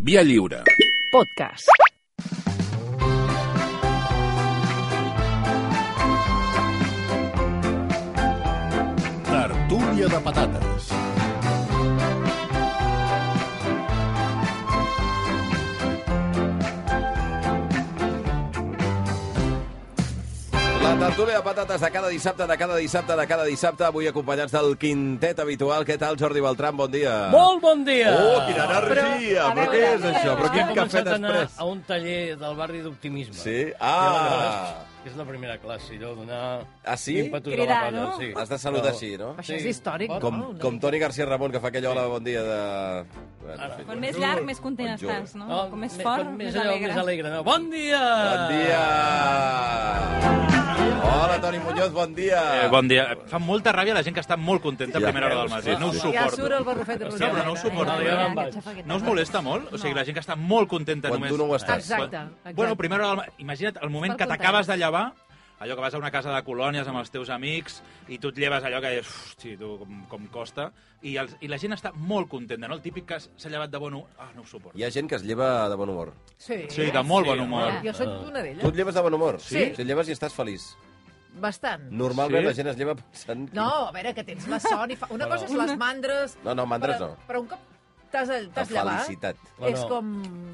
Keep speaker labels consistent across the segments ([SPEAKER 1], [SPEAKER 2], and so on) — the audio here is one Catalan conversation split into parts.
[SPEAKER 1] Via lliure.
[SPEAKER 2] Podcast.
[SPEAKER 1] Tertúlia de patates.
[SPEAKER 3] La tertúlia de patates de cada dissabte, de cada dissabte, de cada dissabte, avui acompanyats del quintet habitual. Què tal, Jordi Beltran? Bon dia.
[SPEAKER 4] Molt bon dia!
[SPEAKER 3] Oh, quina energia! Però, què és això? Però
[SPEAKER 4] He
[SPEAKER 3] quin cafè
[SPEAKER 4] començat a anar
[SPEAKER 3] després?
[SPEAKER 4] a un taller del barri d'optimisme.
[SPEAKER 3] Sí?
[SPEAKER 4] I aleshores,
[SPEAKER 3] Ah!
[SPEAKER 4] que és la primera classe, allò, donar...
[SPEAKER 3] Ah, sí?
[SPEAKER 4] Impetus
[SPEAKER 2] Cridar,
[SPEAKER 4] a la palla,
[SPEAKER 2] no?
[SPEAKER 4] sí.
[SPEAKER 3] Has de saludar així, no?
[SPEAKER 2] Això és històric,
[SPEAKER 4] Bon-
[SPEAKER 3] Com, com Toni García Ramon, que fa aquella hola bon dia de...
[SPEAKER 2] Ah,
[SPEAKER 3] Bueno, en fi.
[SPEAKER 5] Com més llarg, més content
[SPEAKER 3] Bon jove.
[SPEAKER 5] estàs, no?
[SPEAKER 4] No,
[SPEAKER 5] Com més
[SPEAKER 4] me-
[SPEAKER 5] fort,
[SPEAKER 4] com
[SPEAKER 5] més,
[SPEAKER 4] allò,
[SPEAKER 5] alegre.
[SPEAKER 4] Més alegre, no? Bon dia!
[SPEAKER 2] ah.
[SPEAKER 3] Bon dia! Hola, Toni Muñoz, bon dia!
[SPEAKER 6] Eh, bon dia. Fa molta ràbia la gent que està molt contenta
[SPEAKER 3] Ja
[SPEAKER 6] a primera hora
[SPEAKER 3] veus,
[SPEAKER 6] del matí. No us
[SPEAKER 2] Ja surt
[SPEAKER 6] suporto.
[SPEAKER 2] el barrufet de eh?
[SPEAKER 6] No, però no ho suporto.
[SPEAKER 4] No, jo no em
[SPEAKER 2] Ja,
[SPEAKER 4] vaig.
[SPEAKER 2] xafa que
[SPEAKER 6] No us
[SPEAKER 2] tal.
[SPEAKER 6] molesta molt? O sigui, la gent que està molt contenta
[SPEAKER 3] Quan
[SPEAKER 6] només...
[SPEAKER 3] tu no ho estàs.
[SPEAKER 2] Exacte, exacte.
[SPEAKER 6] Bueno, primera hora del matí. Imagina't el moment
[SPEAKER 2] Per
[SPEAKER 6] que
[SPEAKER 2] content.
[SPEAKER 6] t'acabes de llevar, allò que vas a una casa de colònies amb els teus amics i tu et lleves allò que dius, hosti, tu, com, com costa, i, els, i la gent està molt contenta, no? El típic que s'ha llevat de bon humor, ah, no ho suporto.
[SPEAKER 3] Hi ha gent que es lleva de bon humor.
[SPEAKER 2] Sí.
[SPEAKER 6] Sí, de molt bon humor.
[SPEAKER 2] Jo soc una d'elles.
[SPEAKER 3] Tu et lleves de bon humor?
[SPEAKER 2] Sí.
[SPEAKER 3] Si et lleves i estàs feliç.
[SPEAKER 2] Bastant.
[SPEAKER 3] Normalment
[SPEAKER 6] Sí?
[SPEAKER 3] la gent es lleva pensant...
[SPEAKER 2] No, a veure, que tens la son i fa... Una cosa és les mandres...
[SPEAKER 3] No, no, mandres
[SPEAKER 2] però,
[SPEAKER 3] no.
[SPEAKER 2] Però un cop t'has
[SPEAKER 3] La
[SPEAKER 2] t'has llevat,
[SPEAKER 3] felicitat.
[SPEAKER 4] Bueno,
[SPEAKER 2] és com...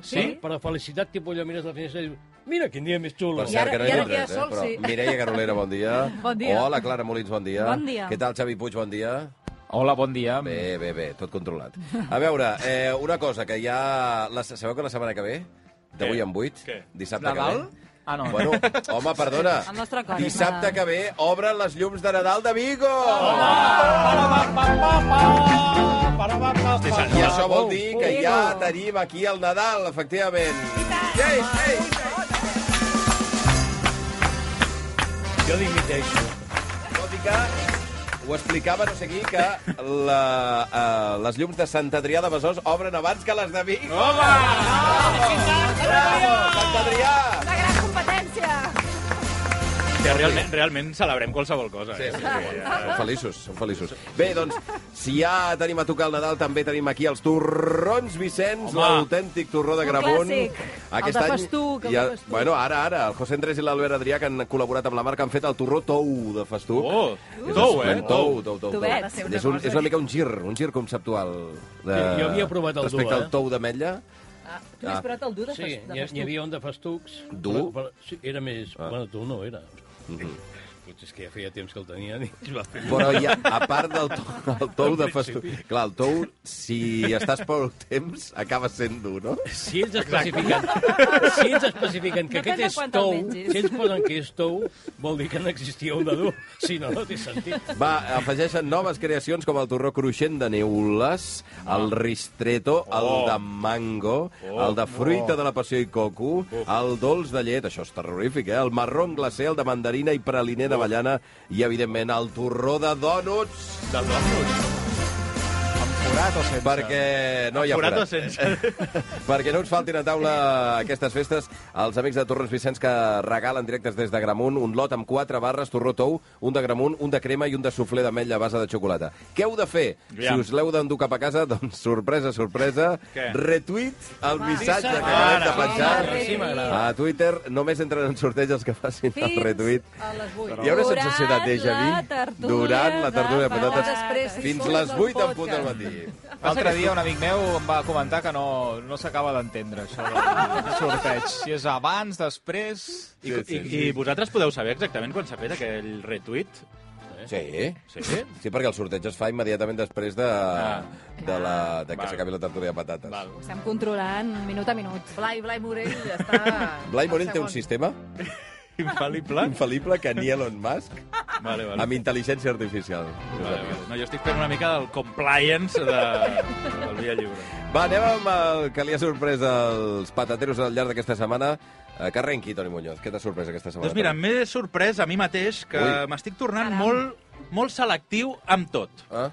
[SPEAKER 6] Sí?
[SPEAKER 4] Però felicitat, tipus, allò mires la finestra i dius, mira quin dia més xulo.
[SPEAKER 3] Per
[SPEAKER 2] I
[SPEAKER 3] cert,
[SPEAKER 2] ara-
[SPEAKER 3] que no
[SPEAKER 2] i
[SPEAKER 3] hi
[SPEAKER 2] ara
[SPEAKER 3] entres,
[SPEAKER 2] que hi ha sol,
[SPEAKER 3] eh? Però
[SPEAKER 2] sí.
[SPEAKER 3] Mireia Garolera, bon dia.
[SPEAKER 5] Bon dia.
[SPEAKER 3] Hola, Clara Molins, bon dia.
[SPEAKER 5] Bon dia.
[SPEAKER 3] Què tal, Xavi Puig, bon dia?
[SPEAKER 7] Hola, bon dia.
[SPEAKER 3] Bé, bé, bé, tot controlat. A veure, eh, una cosa, que ja... La, sabeu que la setmana que ve, d'avui
[SPEAKER 6] Què?
[SPEAKER 3] en vuit,
[SPEAKER 6] Què?
[SPEAKER 3] dissabte
[SPEAKER 7] Nadal?
[SPEAKER 3] que ve...
[SPEAKER 7] Ah, no.
[SPEAKER 3] Bueno, home, perdona.
[SPEAKER 5] El nostre cor és
[SPEAKER 3] Dissabte
[SPEAKER 5] Nadal.
[SPEAKER 3] que ve obren les llums de Nadal de Vigo! I això vol dir que ja tenim aquí el Nadal, efectivament. Ei, ei!
[SPEAKER 4] Jo dimiteixo.
[SPEAKER 3] Tot i que ho explicava no sé qui, que la, uh, les llums de Sant Adrià de Besòs obren abans que les de Vic. Home! Bravo! Sant Adrià!
[SPEAKER 5] La gran competència!
[SPEAKER 6] Però realment, realment celebrem qualsevol cosa.
[SPEAKER 3] Sí,
[SPEAKER 6] eh?
[SPEAKER 3] sí, sí, Són feliços, són feliços. Bé, doncs, si ja tenim a tocar el Nadal, també tenim aquí els torrons Vicenç,
[SPEAKER 6] Home.
[SPEAKER 3] l'autèntic torró de
[SPEAKER 5] Un
[SPEAKER 3] Gramunt.
[SPEAKER 5] clàssic.
[SPEAKER 2] El de festuc, el
[SPEAKER 3] ja,
[SPEAKER 2] de festuc.
[SPEAKER 3] Bueno, ara, ara, el José Andrés i l'Albert Adrià, que han col·laborat amb la marca, han fet el torró tou de festuc.
[SPEAKER 6] Oh,
[SPEAKER 3] És
[SPEAKER 6] tou, eh?
[SPEAKER 3] esplèndid. Tou, tou, tou. tou.
[SPEAKER 5] Tovet.
[SPEAKER 3] És, un, és una mica un gir, un gir conceptual. De,
[SPEAKER 4] Sí, jo havia provat el
[SPEAKER 3] Respecte
[SPEAKER 4] dur,
[SPEAKER 3] al
[SPEAKER 4] eh?
[SPEAKER 3] tou d'ametlla.
[SPEAKER 2] Ah, tu n'has parat el dur de,
[SPEAKER 4] Sí,
[SPEAKER 2] fes- de
[SPEAKER 4] n'hi ha- n'hi
[SPEAKER 2] festuc.
[SPEAKER 4] havia un de festucs.
[SPEAKER 3] Dur?
[SPEAKER 4] Però, però, sí, era més...
[SPEAKER 3] Ah.
[SPEAKER 4] Bueno, tu no era.
[SPEAKER 3] Mhm.
[SPEAKER 4] Potser és que ja feia temps que el tenia i es va fer...
[SPEAKER 3] Però hi ha, a part del tou, el tou de festuc... Clar, el tou, si estàs pel temps, acaba sent dur, no?
[SPEAKER 4] Si ells especifiquen, si ells especifiquen que
[SPEAKER 5] Depèn
[SPEAKER 4] aquest
[SPEAKER 5] de
[SPEAKER 4] és
[SPEAKER 5] quan te'l
[SPEAKER 4] tou,
[SPEAKER 5] mengis.
[SPEAKER 4] si ells posen que és tou, vol dir que no existia un de dur. Si no, no té sentit.
[SPEAKER 3] Va, afegeixen noves creacions com el torró cruixent de neules, el ristretto, el de mango, el de fruita de la passió i coco, el dolç de llet, això és terrorífic, eh? el marró amb glacé, el de mandarina i praliner d'avellana i, evidentment, el torró de dònuts.
[SPEAKER 6] Del nostre.
[SPEAKER 7] Forat o sense?
[SPEAKER 3] Perquè no hi ha
[SPEAKER 6] Forat o
[SPEAKER 3] forat.
[SPEAKER 6] sense?
[SPEAKER 3] Perquè no ens faltin a taula aquestes festes, els amics de Torrons Vicenç que regalen directes des de Gramunt un lot amb quatre barres, torró tou, un de Gramunt, un de crema i un de suflé d'ametlla a base de xocolata. Què heu de fer?
[SPEAKER 6] Aviam.
[SPEAKER 3] Si us l'heu d'endur cap a casa, doncs sorpresa, sorpresa,
[SPEAKER 6] Què?
[SPEAKER 3] retuit el missatge que acabem
[SPEAKER 6] Ara,
[SPEAKER 3] de planxar.
[SPEAKER 5] home,
[SPEAKER 4] Sí, m'agrada.
[SPEAKER 3] A Twitter només entren en sorteig els que facin el
[SPEAKER 2] Fins
[SPEAKER 3] retuit.
[SPEAKER 2] A les 8.
[SPEAKER 3] Hi ha una
[SPEAKER 5] Durant
[SPEAKER 3] sensació de déjà
[SPEAKER 5] la
[SPEAKER 3] vu
[SPEAKER 5] tertúlia
[SPEAKER 3] durant la
[SPEAKER 5] de
[SPEAKER 3] tertúlia de patates
[SPEAKER 5] patates.
[SPEAKER 3] fins les 8 en punt del matí.
[SPEAKER 7] L'altre dia un amic meu em va comentar que no, no s'acaba d'entendre això del sorteig. Si és abans, després...
[SPEAKER 6] I, i, I vosaltres podeu saber exactament quan s'ha fet aquell retuit?
[SPEAKER 3] Sí.
[SPEAKER 6] Sí?
[SPEAKER 3] Sí, perquè el sorteig es fa immediatament després de,
[SPEAKER 6] Ah.
[SPEAKER 3] de, la, de que
[SPEAKER 6] Val.
[SPEAKER 3] s'acabi la tertúlia de patates.
[SPEAKER 6] Val.
[SPEAKER 5] Ho estem controlant minut a minut.
[SPEAKER 2] Blai, Blai Morell ja està...
[SPEAKER 3] Blai
[SPEAKER 2] al
[SPEAKER 3] Morell té un
[SPEAKER 2] segon.
[SPEAKER 3] sistema
[SPEAKER 6] Infal·lible?
[SPEAKER 3] infal·lible que ni Elon Musk
[SPEAKER 6] Vale, vale.
[SPEAKER 3] amb intel·ligència artificial.
[SPEAKER 6] Vale, vale. No, jo estic fent una mica del compliance de, del Via Lliure.
[SPEAKER 3] Va, anem amb el que li ha sorprès als patateros al llarg d'aquesta setmana. Eh, Que arrenqui, Toni Muñoz. Què t'ha sorprès aquesta setmana?
[SPEAKER 6] Doncs mira, m'he sorprès a mi mateix que
[SPEAKER 3] Ui.
[SPEAKER 6] m'estic tornant
[SPEAKER 5] Caram.
[SPEAKER 6] molt, molt selectiu amb tot.
[SPEAKER 3] Eh?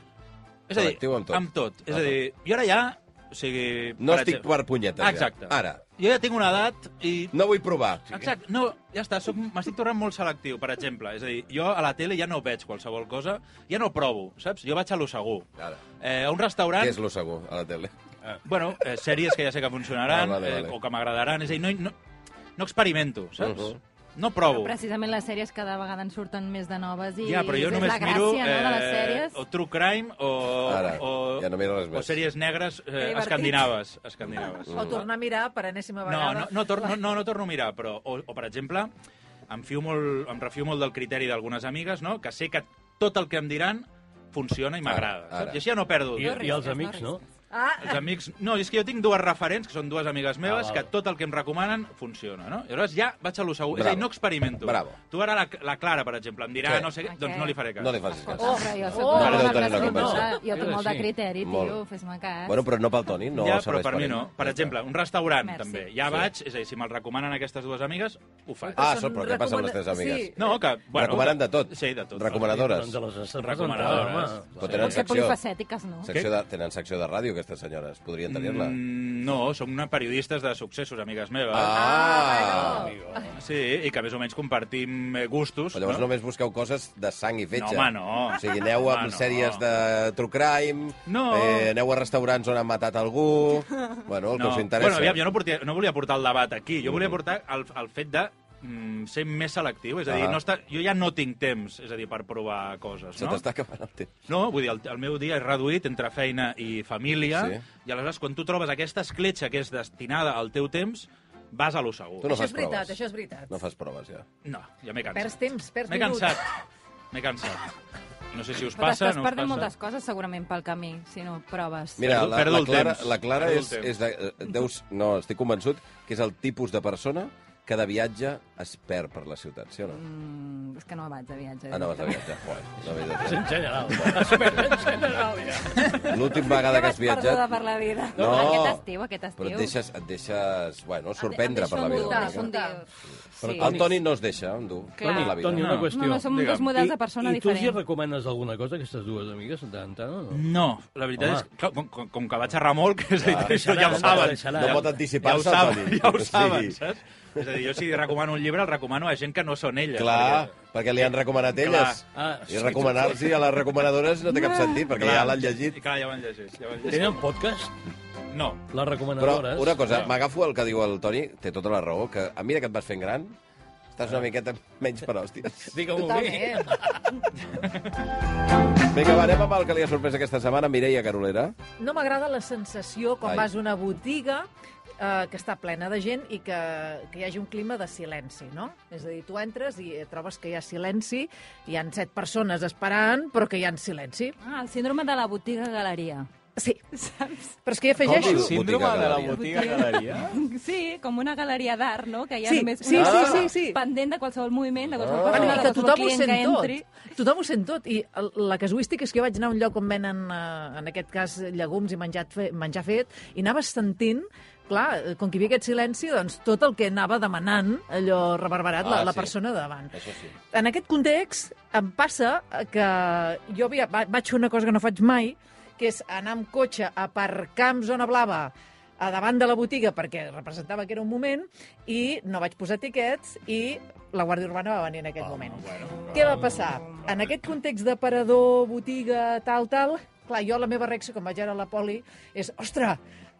[SPEAKER 6] És a dir,
[SPEAKER 3] Selectiu amb tot.
[SPEAKER 6] Amb tot. És
[SPEAKER 3] Ah,
[SPEAKER 6] a dir, jo ara ja... O sigui,
[SPEAKER 3] No
[SPEAKER 6] per
[SPEAKER 3] estic
[SPEAKER 6] exemple-
[SPEAKER 3] per punyetes,
[SPEAKER 6] Ah, Exacte.
[SPEAKER 3] ja. Ara.
[SPEAKER 6] Jo ja tinc una edat i...
[SPEAKER 3] No vull provar.
[SPEAKER 6] Exacte, no, ja està, soc, m'estic tornant molt selectiu, per exemple. És a dir, jo a la tele ja no veig qualsevol cosa, ja no provo, saps? Jo vaig a lo segur.
[SPEAKER 3] Ara.
[SPEAKER 6] Eh, a un restaurant...
[SPEAKER 3] Què és lo segur a la tele?
[SPEAKER 4] Ah.
[SPEAKER 6] Bueno, eh, sèries que ja sé que funcionaran
[SPEAKER 3] Ah, vale,
[SPEAKER 6] eh,
[SPEAKER 3] vale.
[SPEAKER 6] o que m'agradaran. És a dir, no, no, no experimento, saps?
[SPEAKER 3] Mhm.
[SPEAKER 6] No provo.
[SPEAKER 5] Precisament les sèries cada vegada en surten més de noves i
[SPEAKER 6] Ja, però jo
[SPEAKER 5] és
[SPEAKER 6] només
[SPEAKER 5] la gràcia
[SPEAKER 6] miro
[SPEAKER 5] no, de les
[SPEAKER 6] eh,
[SPEAKER 5] sèries.
[SPEAKER 6] o True Crime o,
[SPEAKER 3] Ara,
[SPEAKER 6] o,
[SPEAKER 3] ja no miro res
[SPEAKER 6] o
[SPEAKER 3] més.
[SPEAKER 6] sèries negres eh,
[SPEAKER 2] divertit.
[SPEAKER 6] escandinaves. escandinaves.
[SPEAKER 2] O tornar a mirar per enèsima
[SPEAKER 6] No,
[SPEAKER 2] vegada.
[SPEAKER 6] no, no, tor no, no, no torno a mirar, però... O, o per exemple, em, fio molt, em refio molt del criteri d'algunes amigues, no? que sé que tot el que em diran funciona i m'agrada.
[SPEAKER 3] Ah, ara.
[SPEAKER 6] saps? I així ja no perdo.
[SPEAKER 4] I,
[SPEAKER 6] I,
[SPEAKER 4] I els amics, no?
[SPEAKER 2] Ah,
[SPEAKER 6] els amics... No, és que jo tinc dues referents, que són dues amigues meves,
[SPEAKER 4] Ah, val.
[SPEAKER 6] que tot el que em recomanen funciona, no? I llavors ja vaig a lo segur. És a
[SPEAKER 3] Bravo.
[SPEAKER 6] dir, no experimento.
[SPEAKER 3] Bravo.
[SPEAKER 6] Tu ara la, la Clara, per exemple, em dirà
[SPEAKER 3] Què?
[SPEAKER 6] no sé què,
[SPEAKER 5] Ah,
[SPEAKER 6] doncs
[SPEAKER 5] què?
[SPEAKER 6] no li faré cas.
[SPEAKER 3] No li facis cas.
[SPEAKER 5] Oh, però jo soc
[SPEAKER 2] Oh!
[SPEAKER 5] molt
[SPEAKER 3] Ara no
[SPEAKER 5] amable,
[SPEAKER 3] tenim la
[SPEAKER 5] sí,
[SPEAKER 3] conversa.
[SPEAKER 5] no, Jo tinc molt de
[SPEAKER 4] Sí.
[SPEAKER 5] criteri, tio,
[SPEAKER 3] Molt.
[SPEAKER 5] fes-me cas.
[SPEAKER 3] Bueno, però no pel Toni, no
[SPEAKER 6] ja, però
[SPEAKER 3] serveix
[SPEAKER 6] per mi
[SPEAKER 3] ell.
[SPEAKER 6] no. Per
[SPEAKER 3] Ja està.
[SPEAKER 6] exemple, un restaurant,
[SPEAKER 5] Merci.
[SPEAKER 6] també. Ja
[SPEAKER 3] Sí.
[SPEAKER 6] vaig, és a dir, si me'l recomanen aquestes dues amigues, ho faig.
[SPEAKER 3] Ah,
[SPEAKER 2] Són
[SPEAKER 3] sort, però què passa amb les teves
[SPEAKER 2] recomana-
[SPEAKER 3] amigues?
[SPEAKER 2] sí.
[SPEAKER 6] No, que... Bueno,
[SPEAKER 3] Recomanen de tot.
[SPEAKER 6] Sí, de tot.
[SPEAKER 3] Recomanadores.
[SPEAKER 4] Doncs de les has
[SPEAKER 6] Recomanadores.
[SPEAKER 4] representat, home.
[SPEAKER 3] Però tenen
[SPEAKER 5] Potser
[SPEAKER 3] secció,
[SPEAKER 5] polifacètiques, no?
[SPEAKER 3] secció de, tenen secció de ràdio, aquestes senyores. Podrien tenir-la.
[SPEAKER 6] Mm, no, som una periodistes de successos, amigues meves.
[SPEAKER 3] Ah!
[SPEAKER 6] Sí, i que més o menys compartim eh, gustos.
[SPEAKER 3] Però llavors
[SPEAKER 6] no?
[SPEAKER 3] només busqueu coses de sang i fetge.
[SPEAKER 6] No, home, no.
[SPEAKER 3] O sigui, aneu
[SPEAKER 6] Home,
[SPEAKER 3] amb
[SPEAKER 6] no.
[SPEAKER 3] sèries de true crime,
[SPEAKER 6] No.
[SPEAKER 3] eh, aneu a restaurants on han matat algú... Bueno, el que us interessa. Mm.
[SPEAKER 6] Bueno, aviam, jo no, portia, no volia portar el debat aquí, jo volia portar el, el fet de mm, ser més selectiu, és a dir,
[SPEAKER 3] Ah.
[SPEAKER 6] no està, jo ja no tinc temps, és a dir, per provar coses,
[SPEAKER 3] Se
[SPEAKER 6] no?
[SPEAKER 3] t'està acabant el temps.
[SPEAKER 6] No, vull dir, el, el meu dia és reduït entre feina i família,
[SPEAKER 3] Sí.
[SPEAKER 6] sí. i aleshores quan tu trobes aquesta escletxa que és destinada al teu temps, vas a lo segur.
[SPEAKER 3] Tu no
[SPEAKER 2] això
[SPEAKER 3] fas
[SPEAKER 2] és veritat,
[SPEAKER 3] proves.
[SPEAKER 2] això és veritat.
[SPEAKER 3] No fas proves, ja.
[SPEAKER 6] No, ja m'he cansat.
[SPEAKER 2] Perds temps, perds
[SPEAKER 6] M'he
[SPEAKER 2] minuts.
[SPEAKER 6] cansat. M'he cansat. No sé si us
[SPEAKER 5] Però
[SPEAKER 6] passa,
[SPEAKER 5] t'estàs
[SPEAKER 6] no us passa.
[SPEAKER 5] perdent moltes coses segurament pel camí, si no proves.
[SPEAKER 3] Mira,
[SPEAKER 6] Perdo-
[SPEAKER 3] la,
[SPEAKER 6] perdo
[SPEAKER 3] la
[SPEAKER 6] el
[SPEAKER 3] Clara,
[SPEAKER 6] temps.
[SPEAKER 3] la Clara
[SPEAKER 6] Perdo el
[SPEAKER 3] és,
[SPEAKER 6] temps.
[SPEAKER 3] és de, eh, deus, no, estic convençut que és el tipus de persona que de viatge es perd per la ciutat, sí o no?
[SPEAKER 5] Mm, és que no vaig de viatge.
[SPEAKER 3] Ah, no, vas de viatge. Joder, no, de viatge.
[SPEAKER 4] En general. En general, ja.
[SPEAKER 3] L'última vegada que has
[SPEAKER 5] Perduda
[SPEAKER 3] viatjat...
[SPEAKER 5] per la vida.
[SPEAKER 3] No.
[SPEAKER 5] Aquest estiu, aquest estiu.
[SPEAKER 3] Però et deixes, et deixes bueno, sorprendre
[SPEAKER 2] em
[SPEAKER 3] per la
[SPEAKER 2] deixo
[SPEAKER 3] vida. una
[SPEAKER 2] envoltar,
[SPEAKER 3] mica.
[SPEAKER 5] Un dia. Sí.
[SPEAKER 3] El Toni no es deixa endur
[SPEAKER 5] Clar.
[SPEAKER 3] per la vida. Ah.
[SPEAKER 4] Toni, una
[SPEAKER 6] No.
[SPEAKER 4] qüestió.
[SPEAKER 5] No, no, som
[SPEAKER 6] Digue'm.
[SPEAKER 5] dos models de
[SPEAKER 4] I,
[SPEAKER 5] persona
[SPEAKER 4] I tu els hi
[SPEAKER 5] diferent.
[SPEAKER 4] recomanes alguna cosa, a aquestes dues amigues, de tant en tant, o no?
[SPEAKER 6] No, la veritat
[SPEAKER 4] Home.
[SPEAKER 6] Home. és que, com, com, com que vaig a remolc, és a dir, això ja ho
[SPEAKER 4] no
[SPEAKER 6] saben.
[SPEAKER 4] deixarà.
[SPEAKER 6] Ja-
[SPEAKER 4] No pot
[SPEAKER 3] anticipar-se,
[SPEAKER 6] ja ho saben,
[SPEAKER 3] Toni.
[SPEAKER 6] Ja
[SPEAKER 3] O
[SPEAKER 6] ho saben,
[SPEAKER 3] sigui.
[SPEAKER 6] saps? És a dir, jo si recomano un llibre, el recomano a gent que no són elles.
[SPEAKER 3] Clar, perquè li han recomanat
[SPEAKER 6] Clar.
[SPEAKER 3] elles.
[SPEAKER 4] Ah,
[SPEAKER 3] I
[SPEAKER 4] sí.
[SPEAKER 3] recomanar-s'hi a les recomanadores no té
[SPEAKER 5] Ah.
[SPEAKER 3] cap sentit, perquè ja l'han llegit.
[SPEAKER 6] I clar, ja ho han llegit. Ja ho han llegit.
[SPEAKER 4] Tenen podcast?
[SPEAKER 6] No.
[SPEAKER 4] Les
[SPEAKER 3] Però
[SPEAKER 4] recomanadores?
[SPEAKER 3] una cosa, m'agafo el que diu el Toni, té tota la raó, que a mesura que et vas fent gran, estàs
[SPEAKER 4] Ah.
[SPEAKER 3] una miqueta menys per hòsties.
[SPEAKER 4] Digue-m'ho a mi.
[SPEAKER 2] Totalment.
[SPEAKER 3] Vinga, va, anem amb el que li ha sorprès aquesta setmana, Mireia Carolera.
[SPEAKER 2] No m'agrada la sensació quan
[SPEAKER 3] Ai.
[SPEAKER 2] Ai. vas a una botiga eh, que està plena de gent i que, que hi hagi un clima de silenci, no? És a dir, tu entres i trobes que hi ha silenci, hi han set persones esperant, però que hi ha silenci.
[SPEAKER 5] Ah, el síndrome de la botiga galeria.
[SPEAKER 2] Sí,
[SPEAKER 5] Saps?
[SPEAKER 2] però és que hi
[SPEAKER 3] Com
[SPEAKER 2] afegeixo...
[SPEAKER 3] diu?
[SPEAKER 7] Síndrome
[SPEAKER 3] Botiga
[SPEAKER 7] de la
[SPEAKER 3] Galeria.
[SPEAKER 7] botiga galeria.
[SPEAKER 5] Sí, com una galeria d'art, no? Que hi ha
[SPEAKER 2] Sí,
[SPEAKER 5] només
[SPEAKER 2] sí,
[SPEAKER 5] una
[SPEAKER 2] sí,
[SPEAKER 5] persona
[SPEAKER 2] sí, sí.
[SPEAKER 5] pendent de qualsevol moviment, de
[SPEAKER 3] Ah.
[SPEAKER 5] qualsevol
[SPEAKER 2] Bueno,
[SPEAKER 5] persona,
[SPEAKER 2] i
[SPEAKER 5] de
[SPEAKER 2] que
[SPEAKER 5] qualsevol
[SPEAKER 2] tothom ho
[SPEAKER 5] Ah. client
[SPEAKER 2] sent
[SPEAKER 5] que
[SPEAKER 2] tot.
[SPEAKER 5] entri.
[SPEAKER 2] Tothom ho sent tot. I el- la casuística és que jo vaig anar a un lloc on venen, eh, en aquest cas, llegums i menjat fe, menjar fet, i anava sentint clar, eh, com que hi havia aquest silenci, doncs tot el que anava demanant, allò reverberat,
[SPEAKER 3] Ah,
[SPEAKER 2] la, la
[SPEAKER 3] sí.
[SPEAKER 2] persona de davant.
[SPEAKER 3] Això sí.
[SPEAKER 2] En aquest context em passa que jo havia, va- vaig fer una cosa que no faig mai, que és anar amb cotxe a aparcar en zona blava a davant de la botiga perquè representava que era un moment i no vaig posar tiquets i la Guàrdia Urbana va venir en aquell moment. Què va passar? En aquest context de parador, botiga, tal, tal, clar, jo la meva reacció quan vaig anar a la poli és, ostres,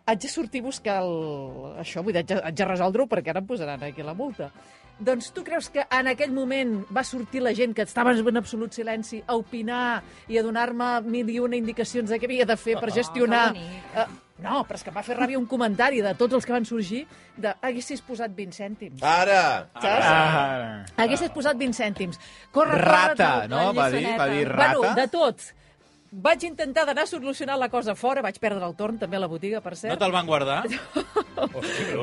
[SPEAKER 2] haig de sortir a buscar el... això, vull dir, haig de, haig de resoldre-ho perquè ara em posaran aquí la multa. Doncs tu creus que en aquell moment va sortir la gent que estava en absolut silenci a opinar i a donar-me mil i una indicacions de què havia de fer per gestionar...
[SPEAKER 5] Ah, que bonic.
[SPEAKER 2] Eh, no, però és que em va fer ràbia un comentari de tots els que van sorgir de haguessis posat 20 cèntims.
[SPEAKER 3] Ara!
[SPEAKER 2] Saps?
[SPEAKER 7] Ah,
[SPEAKER 2] Haguessis posat 20 cèntims. Corre, corre,
[SPEAKER 7] rata,
[SPEAKER 2] tal.
[SPEAKER 7] no? Va dir, va dir rata.
[SPEAKER 2] Bueno, de tot. Vaig intentar d'anar a solucionar la cosa fora, vaig perdre el torn també a la botiga, per
[SPEAKER 6] No
[SPEAKER 2] cert.
[SPEAKER 6] te'l van guardar?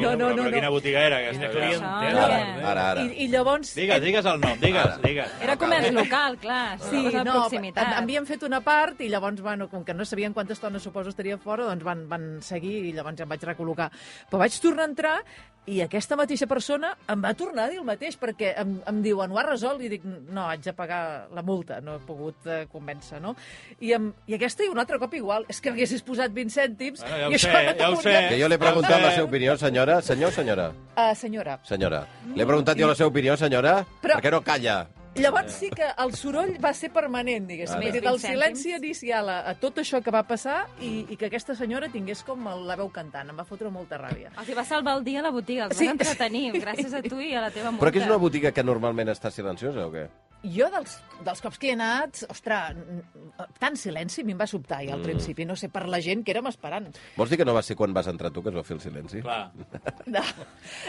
[SPEAKER 2] No, no, no,
[SPEAKER 6] Però quina
[SPEAKER 2] no.
[SPEAKER 6] botiga era aquesta?
[SPEAKER 5] clientela.
[SPEAKER 3] Ara,
[SPEAKER 5] Ara.
[SPEAKER 3] ara, ara.
[SPEAKER 2] I, I llavors...
[SPEAKER 6] Digues, digues el nom, digues, digues.
[SPEAKER 5] Era comerç local, clar. Sí,
[SPEAKER 2] Sí,
[SPEAKER 5] no,
[SPEAKER 2] no,
[SPEAKER 5] proximitat.
[SPEAKER 2] em- havien fet una part i llavors, bueno, com que no sabien quanta estona suposo estaria fora, doncs van, van seguir i llavors em vaig recol·locar. Però vaig tornar a entrar i aquesta mateixa persona em va tornar a dir el mateix perquè em, em diuen, ho ha resolt? I dic, no, haig de pagar la multa, no he pogut eh, convèncer, no? I, em, I aquesta i un altre cop igual, és que m'haguessis posat 20 cèntims
[SPEAKER 6] Bueno, ja ho
[SPEAKER 2] i
[SPEAKER 6] sé,
[SPEAKER 2] això no t'ha
[SPEAKER 6] ja ho
[SPEAKER 2] portat-
[SPEAKER 3] Que jo l'he preguntat
[SPEAKER 6] Eh.
[SPEAKER 3] la seva opinió, senyora. Senyor o senyora?
[SPEAKER 2] Ah, senyora,
[SPEAKER 3] Senyora. L'he preguntat jo la seva opinió, senyora.
[SPEAKER 2] Però-
[SPEAKER 3] Per què no calla?
[SPEAKER 2] Llavors sí que el soroll va ser permanent, diguéssim.
[SPEAKER 3] Ara.
[SPEAKER 2] Ara. Del silenci inicial a, a tot això que va passar i, i que aquesta senyora tingués com el- la veu cantant. Em va fotre molta ràbia.
[SPEAKER 5] Els hi va salvar el dia a la botiga, els
[SPEAKER 2] Sí.
[SPEAKER 5] sí. vas entretenir, gràcies a tu i a la teva multa.
[SPEAKER 3] Però que és una botiga que normalment està silenciosa o què?
[SPEAKER 2] Jo, dels, dels cops que hi he anat, ostres, n- n- tant silenci a mi em va sobtar i al principi, no sé, per la gent que érem esperant.
[SPEAKER 3] Vols dir que no va ser quan vas entrar tu que es va fer el silenci?
[SPEAKER 6] Clar.
[SPEAKER 2] No,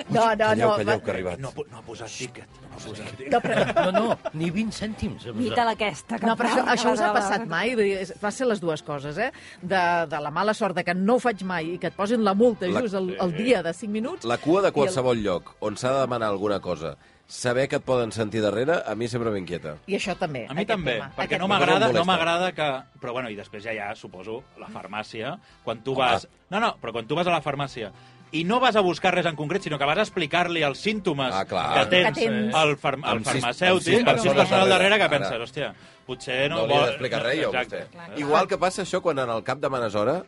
[SPEAKER 2] no, no.
[SPEAKER 3] calleu,
[SPEAKER 2] no,
[SPEAKER 3] calleu,
[SPEAKER 2] va-
[SPEAKER 3] que ha arribat.
[SPEAKER 6] No, ha pu- no ha posat tiquet. No ha posat tiquet.
[SPEAKER 2] no, però,
[SPEAKER 4] No, no, ni 20 cèntims. em
[SPEAKER 5] Mita
[SPEAKER 4] sap.
[SPEAKER 5] aquesta. que
[SPEAKER 2] No, però això,
[SPEAKER 5] em va-
[SPEAKER 2] això us ha
[SPEAKER 5] que
[SPEAKER 2] passat mai? Vull dir, és- Va ser les dues coses, eh? De, de la mala sort de que no ho faig mai i que et posin la multa
[SPEAKER 3] La-
[SPEAKER 2] just el, el dia de 5 minuts.
[SPEAKER 3] La cua de qualsevol lloc on s'ha de demanar alguna cosa, saber que et poden sentir darrere, a mi sempre m'inquieta.
[SPEAKER 2] I això també.
[SPEAKER 6] A mi
[SPEAKER 2] aquest
[SPEAKER 6] també,
[SPEAKER 2] tema,
[SPEAKER 6] perquè
[SPEAKER 2] aquest
[SPEAKER 6] no
[SPEAKER 2] tema.
[SPEAKER 6] m'agrada
[SPEAKER 3] Em
[SPEAKER 6] no
[SPEAKER 3] molesta.
[SPEAKER 6] m'agrada que... Però bueno, i després ja hi ha, suposo, la farmàcia. Quan tu
[SPEAKER 3] Home.
[SPEAKER 6] vas... No, no, però quan tu vas a la farmàcia i no vas a buscar res en concret, sinó que vas a explicar-li els símptomes
[SPEAKER 3] Ah, clar.
[SPEAKER 6] que tens,
[SPEAKER 2] Que tens.
[SPEAKER 6] al far el
[SPEAKER 3] Amb sis- amb
[SPEAKER 6] farmacèutic,
[SPEAKER 3] sis
[SPEAKER 6] amb sis
[SPEAKER 3] persones
[SPEAKER 6] persones al darrere, que
[SPEAKER 3] darrere.
[SPEAKER 6] penses,
[SPEAKER 3] Ara.
[SPEAKER 6] hòstia, potser
[SPEAKER 3] No,
[SPEAKER 6] no...
[SPEAKER 3] li he
[SPEAKER 6] vol-
[SPEAKER 3] d'explicar res, jo, a vostè.
[SPEAKER 6] Exacte.
[SPEAKER 3] Igual que passa això quan en el cap demanes hora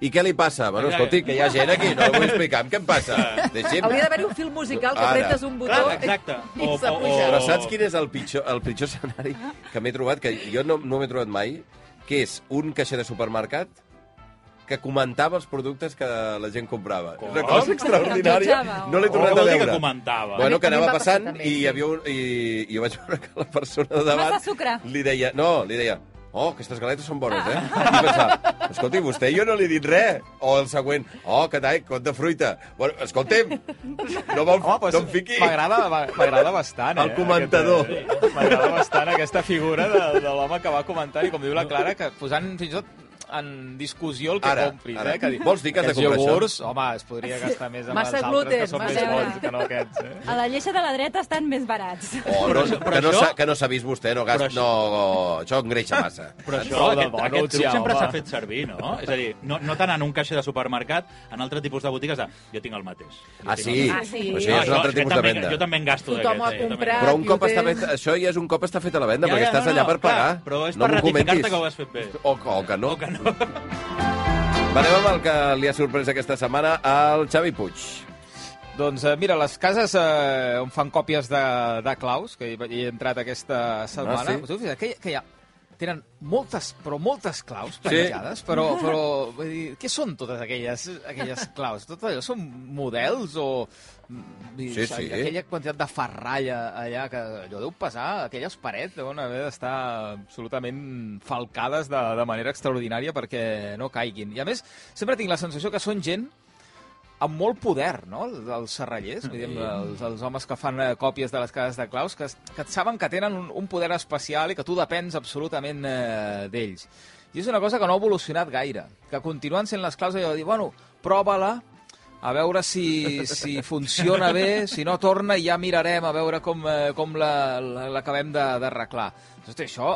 [SPEAKER 3] i què li passa? Bueno,
[SPEAKER 6] Exacte.
[SPEAKER 3] escolti, que hi ha gent aquí, no vull explicar què em passa. Deixi'm.
[SPEAKER 2] Hauria d'haver-hi un film musical que
[SPEAKER 3] Ara.
[SPEAKER 2] apretes un botó
[SPEAKER 6] Clar, exacte.
[SPEAKER 2] i
[SPEAKER 6] O-
[SPEAKER 2] s'ha
[SPEAKER 6] o-
[SPEAKER 2] pujat.
[SPEAKER 3] Però saps quin és el pitjor, el pitjor escenari que m'he trobat, que jo no, no m'he trobat mai, que és un caixer de supermercat que comentava els productes que la gent comprava.
[SPEAKER 6] Com?
[SPEAKER 3] És una cosa extraordinària.
[SPEAKER 5] jutjava, o-
[SPEAKER 3] No l'he tornat
[SPEAKER 6] Com
[SPEAKER 3] a
[SPEAKER 6] vol dir que
[SPEAKER 3] veure.
[SPEAKER 6] comentava?
[SPEAKER 3] Bueno, que
[SPEAKER 2] A mi- a mi em
[SPEAKER 3] anava
[SPEAKER 2] va passar
[SPEAKER 3] passant
[SPEAKER 2] també,
[SPEAKER 3] i,
[SPEAKER 2] sí.
[SPEAKER 3] hi havia un, i, i jo vaig veure que la persona de davant...
[SPEAKER 5] Vas a sucre.
[SPEAKER 3] Li deia... No, li deia... Oh, aquestes galetes són bones,
[SPEAKER 2] Ah.
[SPEAKER 3] eh? I pensava, escolti, vostè jo no li he dit res. O el següent, oh, que tall, cot de fruita. Bueno, escolti'm, no, vol,
[SPEAKER 7] Home, doncs
[SPEAKER 3] no em fiqui.
[SPEAKER 7] m'agrada m'agrada bastant, eh?
[SPEAKER 3] El comentador.
[SPEAKER 7] Aquest, eh, M'agrada bastant aquesta figura de, de l'home que va comentant i, com diu la Clara, que posant fins i tot en discussió el que
[SPEAKER 3] Ara,
[SPEAKER 7] compris,
[SPEAKER 3] ara.
[SPEAKER 7] eh? Que, di-
[SPEAKER 3] Vols dir que has de
[SPEAKER 7] aquests
[SPEAKER 3] comprar això?
[SPEAKER 7] iogurts, Home, es podria gastar més amb
[SPEAKER 2] Massa
[SPEAKER 7] els altres,
[SPEAKER 2] gluten,
[SPEAKER 7] que són
[SPEAKER 2] massa
[SPEAKER 7] més bons
[SPEAKER 5] gluten.
[SPEAKER 7] que no aquests, eh?
[SPEAKER 5] A la lleixa de la dreta estan més barats.
[SPEAKER 3] Oh,
[SPEAKER 6] Però
[SPEAKER 3] no,
[SPEAKER 6] això- però
[SPEAKER 3] que, no
[SPEAKER 6] això-
[SPEAKER 3] s'ha- que no s'ha vist vostè, no, gast,
[SPEAKER 6] Però això-
[SPEAKER 3] no, això engreixa massa.
[SPEAKER 6] Però això,
[SPEAKER 7] Sol de
[SPEAKER 6] aquest,
[SPEAKER 7] bona,
[SPEAKER 6] aquest truc
[SPEAKER 7] hòstia,
[SPEAKER 6] sempre
[SPEAKER 7] home.
[SPEAKER 6] s'ha fet servir, no? És a dir, no, no tant en un caixer de supermercat, en altre tipus de botigues de... Jo tinc el mateix. Jo
[SPEAKER 3] Ah,
[SPEAKER 6] tinc
[SPEAKER 3] sí?
[SPEAKER 5] Ah, sí.
[SPEAKER 3] Això
[SPEAKER 5] Ah,
[SPEAKER 6] No,
[SPEAKER 3] ja és un
[SPEAKER 6] jo-
[SPEAKER 3] altre
[SPEAKER 6] jo
[SPEAKER 3] tipus de
[SPEAKER 6] també-
[SPEAKER 3] venda.
[SPEAKER 6] Jo també en gasto
[SPEAKER 2] Tothom ho ha
[SPEAKER 6] d'aquest, eh, jo també en
[SPEAKER 2] comprat.
[SPEAKER 6] gasto.
[SPEAKER 3] Però un
[SPEAKER 2] Aquí
[SPEAKER 3] cop
[SPEAKER 2] ho
[SPEAKER 3] està
[SPEAKER 2] tens.
[SPEAKER 3] fet, això ja és un cop està fet a la venda,
[SPEAKER 6] Ja,
[SPEAKER 3] perquè
[SPEAKER 6] ja,
[SPEAKER 3] estàs
[SPEAKER 6] no,
[SPEAKER 3] allà
[SPEAKER 6] no,
[SPEAKER 3] per pagar.
[SPEAKER 6] clar, però és
[SPEAKER 3] no
[SPEAKER 6] per
[SPEAKER 3] m'ho
[SPEAKER 6] ratificar-te
[SPEAKER 3] comentis.
[SPEAKER 6] que ho has fet bé.
[SPEAKER 3] O, o que no.
[SPEAKER 6] O que no.
[SPEAKER 3] Va, anem amb el que li ha sorprès aquesta setmana al Xavi Puig.
[SPEAKER 7] Doncs eh, mira, les cases eh, on fan còpies de, de claus, que hi, hi he entrat aquesta setmana,
[SPEAKER 3] Ah, sí?
[SPEAKER 7] us heu fixat que, hi- que hi ha, tenen moltes, però moltes claus
[SPEAKER 3] Sí.
[SPEAKER 7] penjades, però, però vull dir, què són totes aquelles, aquelles claus? Tot allò són models o... mm, vull dir,
[SPEAKER 3] Sí, sí.
[SPEAKER 7] Aquella quantitat de ferralla allà, que allò deu pesar, aquelles parets deuen haver d'estar absolutament falcades de, de manera extraordinària perquè no caiguin. I a més, sempre tinc la sensació que són gent amb molt poder, no?, els- els serrallers, vull dir, els, els homes que fan eh, còpies de les cases de claus, que, es- que saben que tenen un, un poder especial i que tu depens absolutament eh, d'ells. I és una cosa que no ha evolucionat gaire, que continuen sent les claus allò de dir, bueno, prova-la, a veure si, si funciona bé, si no torna, ja mirarem a veure com, eh, com la- la- l'acabem la, d'arreglar. Hosti, això,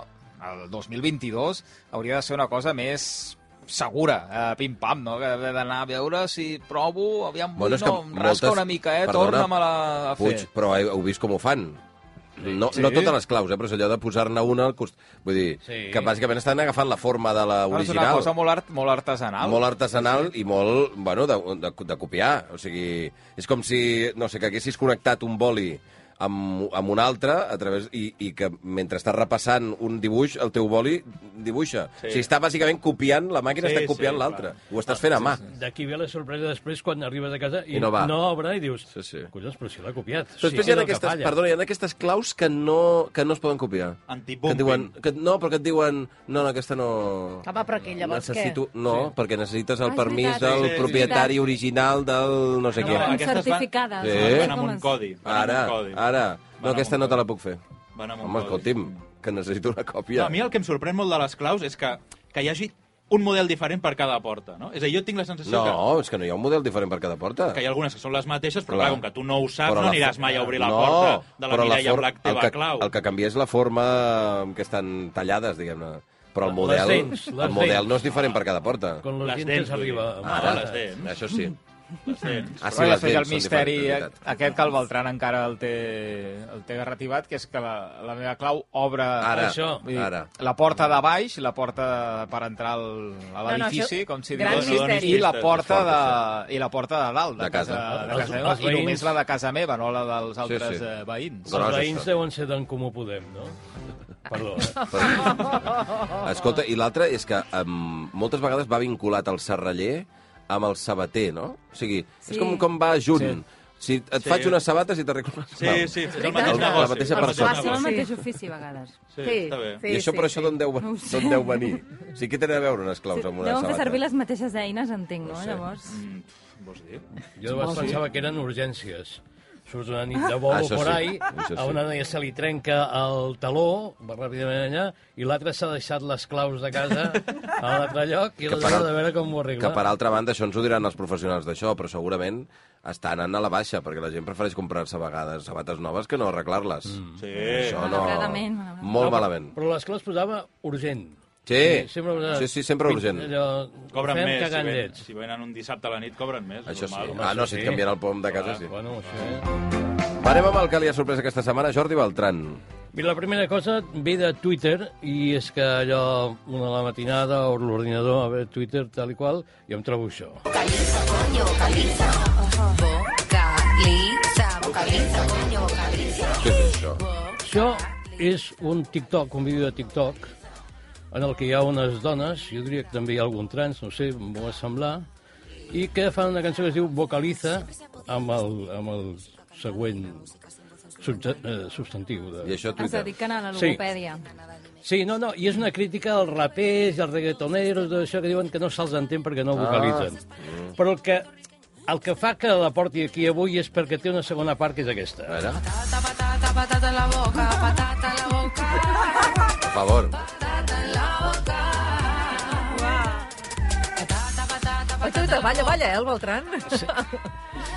[SPEAKER 7] el 2022, hauria de ser una cosa més segura, eh, pim-pam, no? Que he d'anar a veure si provo, aviam, bueno, no, em rasca una mica, eh?
[SPEAKER 3] perdona,
[SPEAKER 7] Torna-me-la a fer.
[SPEAKER 3] Puig, però heu, heu vist com ho fan. No, no totes les claus, eh, però és allò de posar-ne una al costat. Vull dir,
[SPEAKER 4] Sí.
[SPEAKER 3] que bàsicament estan agafant la forma de la
[SPEAKER 7] No, és
[SPEAKER 3] original.
[SPEAKER 7] una cosa molt, art, molt artesanal.
[SPEAKER 3] Molt artesanal i molt, bueno, de, de, de copiar. O sigui, és com si, no sé, que haguessis connectat un boli amb, amb un altre a través, i, i que mentre estàs repassant un dibuix, el teu boli dibuixa. Sí. O sigui, està bàsicament copiant, la màquina
[SPEAKER 6] Sí,
[SPEAKER 3] està copiant
[SPEAKER 6] sí,
[SPEAKER 3] l'altra.
[SPEAKER 6] clar. Ah,
[SPEAKER 3] Ho estàs fent a mà.
[SPEAKER 4] D'aquí ve la sorpresa després quan arribes a casa i,
[SPEAKER 3] I no va.
[SPEAKER 4] no obre i dius,
[SPEAKER 3] Sí, sí.
[SPEAKER 4] collons, però si l'ha copiat.
[SPEAKER 3] Però després
[SPEAKER 4] sí,
[SPEAKER 3] hi ha aquestes, perdona, hi ha aquestes claus que no, que no es poden copiar. Que et
[SPEAKER 6] Antibumping.
[SPEAKER 3] diuen, que, no, però que et diuen, no, no, aquesta no...
[SPEAKER 2] Home, però aquí llavors
[SPEAKER 3] Necessito, què? No, sí. perquè necessites
[SPEAKER 5] Ah,
[SPEAKER 3] el
[SPEAKER 5] és
[SPEAKER 3] permís
[SPEAKER 5] veritat.
[SPEAKER 3] del
[SPEAKER 6] Sí, sí,
[SPEAKER 3] propietari
[SPEAKER 5] sí.
[SPEAKER 3] original del no sé
[SPEAKER 6] No,
[SPEAKER 3] què.
[SPEAKER 6] no, aquestes van-
[SPEAKER 5] certificades,
[SPEAKER 3] Sí.
[SPEAKER 5] no?
[SPEAKER 6] Van amb
[SPEAKER 5] Com
[SPEAKER 6] un
[SPEAKER 5] es-
[SPEAKER 6] codi. Van
[SPEAKER 3] Ara,
[SPEAKER 6] amb un codi.
[SPEAKER 3] ara. No,
[SPEAKER 6] amb
[SPEAKER 3] aquesta
[SPEAKER 6] un
[SPEAKER 3] no te la
[SPEAKER 6] codi.
[SPEAKER 3] puc fer.
[SPEAKER 6] Van amb un
[SPEAKER 3] Home,
[SPEAKER 6] codi.
[SPEAKER 3] escolti'm, que necessito una
[SPEAKER 6] No,
[SPEAKER 3] còpia.
[SPEAKER 6] a mi el que em sorprèn molt de les claus és que, que hi hagi un model diferent per cada porta, no? És a dir, jo tinc la sensació que,
[SPEAKER 3] No, és que no hi ha un model diferent per cada porta.
[SPEAKER 6] que hi ha algunes que són les mateixes, però
[SPEAKER 3] Clar.
[SPEAKER 6] clar, com que tu no ho saps,
[SPEAKER 3] Però
[SPEAKER 6] no
[SPEAKER 3] la
[SPEAKER 6] aniràs
[SPEAKER 3] for-
[SPEAKER 6] mai a obrir la
[SPEAKER 3] no,
[SPEAKER 6] porta de la
[SPEAKER 3] però
[SPEAKER 6] Mireia
[SPEAKER 3] for-
[SPEAKER 6] Black
[SPEAKER 3] el
[SPEAKER 6] teva
[SPEAKER 3] que,
[SPEAKER 6] clau.
[SPEAKER 3] El que canvia és la forma en què estan tallades, diguem-ne. Però el
[SPEAKER 4] Les
[SPEAKER 3] model,
[SPEAKER 4] dents, les
[SPEAKER 3] el model
[SPEAKER 4] dents.
[SPEAKER 3] no és diferent per cada porta.
[SPEAKER 4] Quan les,
[SPEAKER 6] Les
[SPEAKER 4] les
[SPEAKER 6] dents,
[SPEAKER 4] dents arriba...
[SPEAKER 6] vull dir.
[SPEAKER 4] Ah,
[SPEAKER 6] Ara,
[SPEAKER 4] les
[SPEAKER 6] les dents.
[SPEAKER 3] Això sí.
[SPEAKER 6] Les tens.
[SPEAKER 3] Ah,
[SPEAKER 7] Sí, Però ja
[SPEAKER 3] les
[SPEAKER 7] feia el
[SPEAKER 3] dents són
[SPEAKER 7] misteri, eh?
[SPEAKER 3] diferents, veritat.
[SPEAKER 7] aquest que el Beltran encara el té, el té garrativat, que és que la, la meva clau obre
[SPEAKER 3] Ara,
[SPEAKER 4] Això.
[SPEAKER 7] vull dir,
[SPEAKER 3] ara.
[SPEAKER 7] la porta de baix, la porta per entrar al, a
[SPEAKER 2] no,
[SPEAKER 7] l'edifici,
[SPEAKER 2] això-
[SPEAKER 7] com si
[SPEAKER 2] gran
[SPEAKER 7] digués,
[SPEAKER 2] misteri.
[SPEAKER 7] i la
[SPEAKER 6] Misteri.
[SPEAKER 7] porta
[SPEAKER 3] És
[SPEAKER 7] de,
[SPEAKER 3] fort,
[SPEAKER 7] i la porta de dalt, de,
[SPEAKER 3] De casa.
[SPEAKER 7] de
[SPEAKER 4] Els-
[SPEAKER 7] casa meva,
[SPEAKER 4] els
[SPEAKER 7] i
[SPEAKER 4] veïns.
[SPEAKER 7] només la de casa meva, no la dels altres
[SPEAKER 3] sí.
[SPEAKER 7] eh, veïns.
[SPEAKER 3] Gros,
[SPEAKER 4] Els veïns
[SPEAKER 3] això.
[SPEAKER 4] deuen ser d'en Comú Podem, no? Perdó, eh?
[SPEAKER 3] Escolta, i l'altre és que um, moltes vegades va vinculat el serraller amb el sabater, no? O sigui, sí. és
[SPEAKER 5] Sí.
[SPEAKER 3] com, com va junt. Sí. Si et
[SPEAKER 6] Sí.
[SPEAKER 3] sí. faig unes sabates i t'arreglo unes
[SPEAKER 6] Sí,
[SPEAKER 3] mans.
[SPEAKER 6] sí, és
[SPEAKER 2] Veritat?
[SPEAKER 6] el mateix
[SPEAKER 2] El-
[SPEAKER 6] negoci.
[SPEAKER 3] la mateixa
[SPEAKER 6] és el
[SPEAKER 2] Ah,
[SPEAKER 6] mateix
[SPEAKER 3] persona.
[SPEAKER 5] Va ser el
[SPEAKER 6] negoci.
[SPEAKER 5] mateix ofici, a vegades.
[SPEAKER 6] Sí,
[SPEAKER 2] Sí.
[SPEAKER 6] està bé.
[SPEAKER 2] Sí.
[SPEAKER 3] I això, però això d'on deu,
[SPEAKER 5] No ho sé.
[SPEAKER 3] d'on deu venir? O sigui, què tenen a veure unes claus amb una
[SPEAKER 5] Deuen fer
[SPEAKER 3] sabata?
[SPEAKER 5] servir les mateixes eines, entenc, no?
[SPEAKER 3] sé.
[SPEAKER 5] Llavors...
[SPEAKER 6] Mm, pf, vols dir?
[SPEAKER 4] Jo de vegades pensava que eren urgències. Surt una nit de
[SPEAKER 3] Ah,
[SPEAKER 4] bolo
[SPEAKER 3] això
[SPEAKER 4] por
[SPEAKER 3] sí,
[SPEAKER 4] ahí,
[SPEAKER 3] això
[SPEAKER 4] a
[SPEAKER 3] sí.
[SPEAKER 4] una noia se li trenca el taló, va ràpidament allà, i l'altre s'ha deixat les claus de casa a l'altre lloc, i
[SPEAKER 3] Que per
[SPEAKER 4] l'altre
[SPEAKER 3] al-
[SPEAKER 4] de veure com ho
[SPEAKER 3] Que
[SPEAKER 4] arregla.
[SPEAKER 3] per altra banda, això ens ho diran els professionals d'això, però segurament està anant a la baixa, perquè la gent prefereix comprar-se a vegades sabates noves que no arreglar-les. Mm.
[SPEAKER 6] Sí.
[SPEAKER 3] Això no...
[SPEAKER 5] Ah, Malauradament, malauradament.
[SPEAKER 3] Molt malament.
[SPEAKER 4] Però les claus posava urgent.
[SPEAKER 3] Sí,
[SPEAKER 4] sempre posava-
[SPEAKER 3] sí, sí, sempre urgent.
[SPEAKER 4] Allò,
[SPEAKER 6] Cobren
[SPEAKER 4] fem
[SPEAKER 6] més. Si
[SPEAKER 4] cagant
[SPEAKER 6] venen,
[SPEAKER 4] llets.
[SPEAKER 6] si venen un dissabte a la nit, cobren més.
[SPEAKER 3] Això sí.
[SPEAKER 6] normal.
[SPEAKER 3] Ah, no, si et canvien el pom de casa,
[SPEAKER 4] Ah,
[SPEAKER 3] sí.
[SPEAKER 4] Bueno, això...
[SPEAKER 3] Va, anem amb el que li ha sorprès aquesta setmana, Jordi Beltran.
[SPEAKER 4] Mira, la primera cosa ve de Twitter, i és que allò, una a la matinada, o l'ordinador, a veure, Twitter, tal i qual, i em trobo això.
[SPEAKER 1] Vocaliza, coño, vocaliza. Vocaliza, vocaliza, coño, vocaliza.
[SPEAKER 3] Què és això?
[SPEAKER 4] Això és un TikTok, un vídeo de TikTok, en el que hi ha unes dones, jo diria que també hi ha algun trans, no ho sé, m'ho va semblar, i que fan una cançó que es diu Vocaliza, amb el, amb el següent subje, eh, substantiu. De...
[SPEAKER 3] I això a
[SPEAKER 5] Ens
[SPEAKER 3] Twitter.
[SPEAKER 5] dediquen a la
[SPEAKER 4] Sí.
[SPEAKER 5] logopèdia.
[SPEAKER 4] Sí, no, no, i és una crítica als rapers i als reggaetoneros, d'això que diuen que no se'ls entén perquè
[SPEAKER 3] Ah.
[SPEAKER 4] no vocalitzen.
[SPEAKER 3] Mm.
[SPEAKER 4] Però el que, el que fa que la porti aquí avui és perquè té una segona part que és aquesta.
[SPEAKER 3] A veure,
[SPEAKER 1] Patata, patata, patata en la boca, patata en la boca,
[SPEAKER 3] a favor.
[SPEAKER 1] patata en la boca. Patata, patata,
[SPEAKER 2] Oi, tu, te- balla, balla, eh, el Beltran?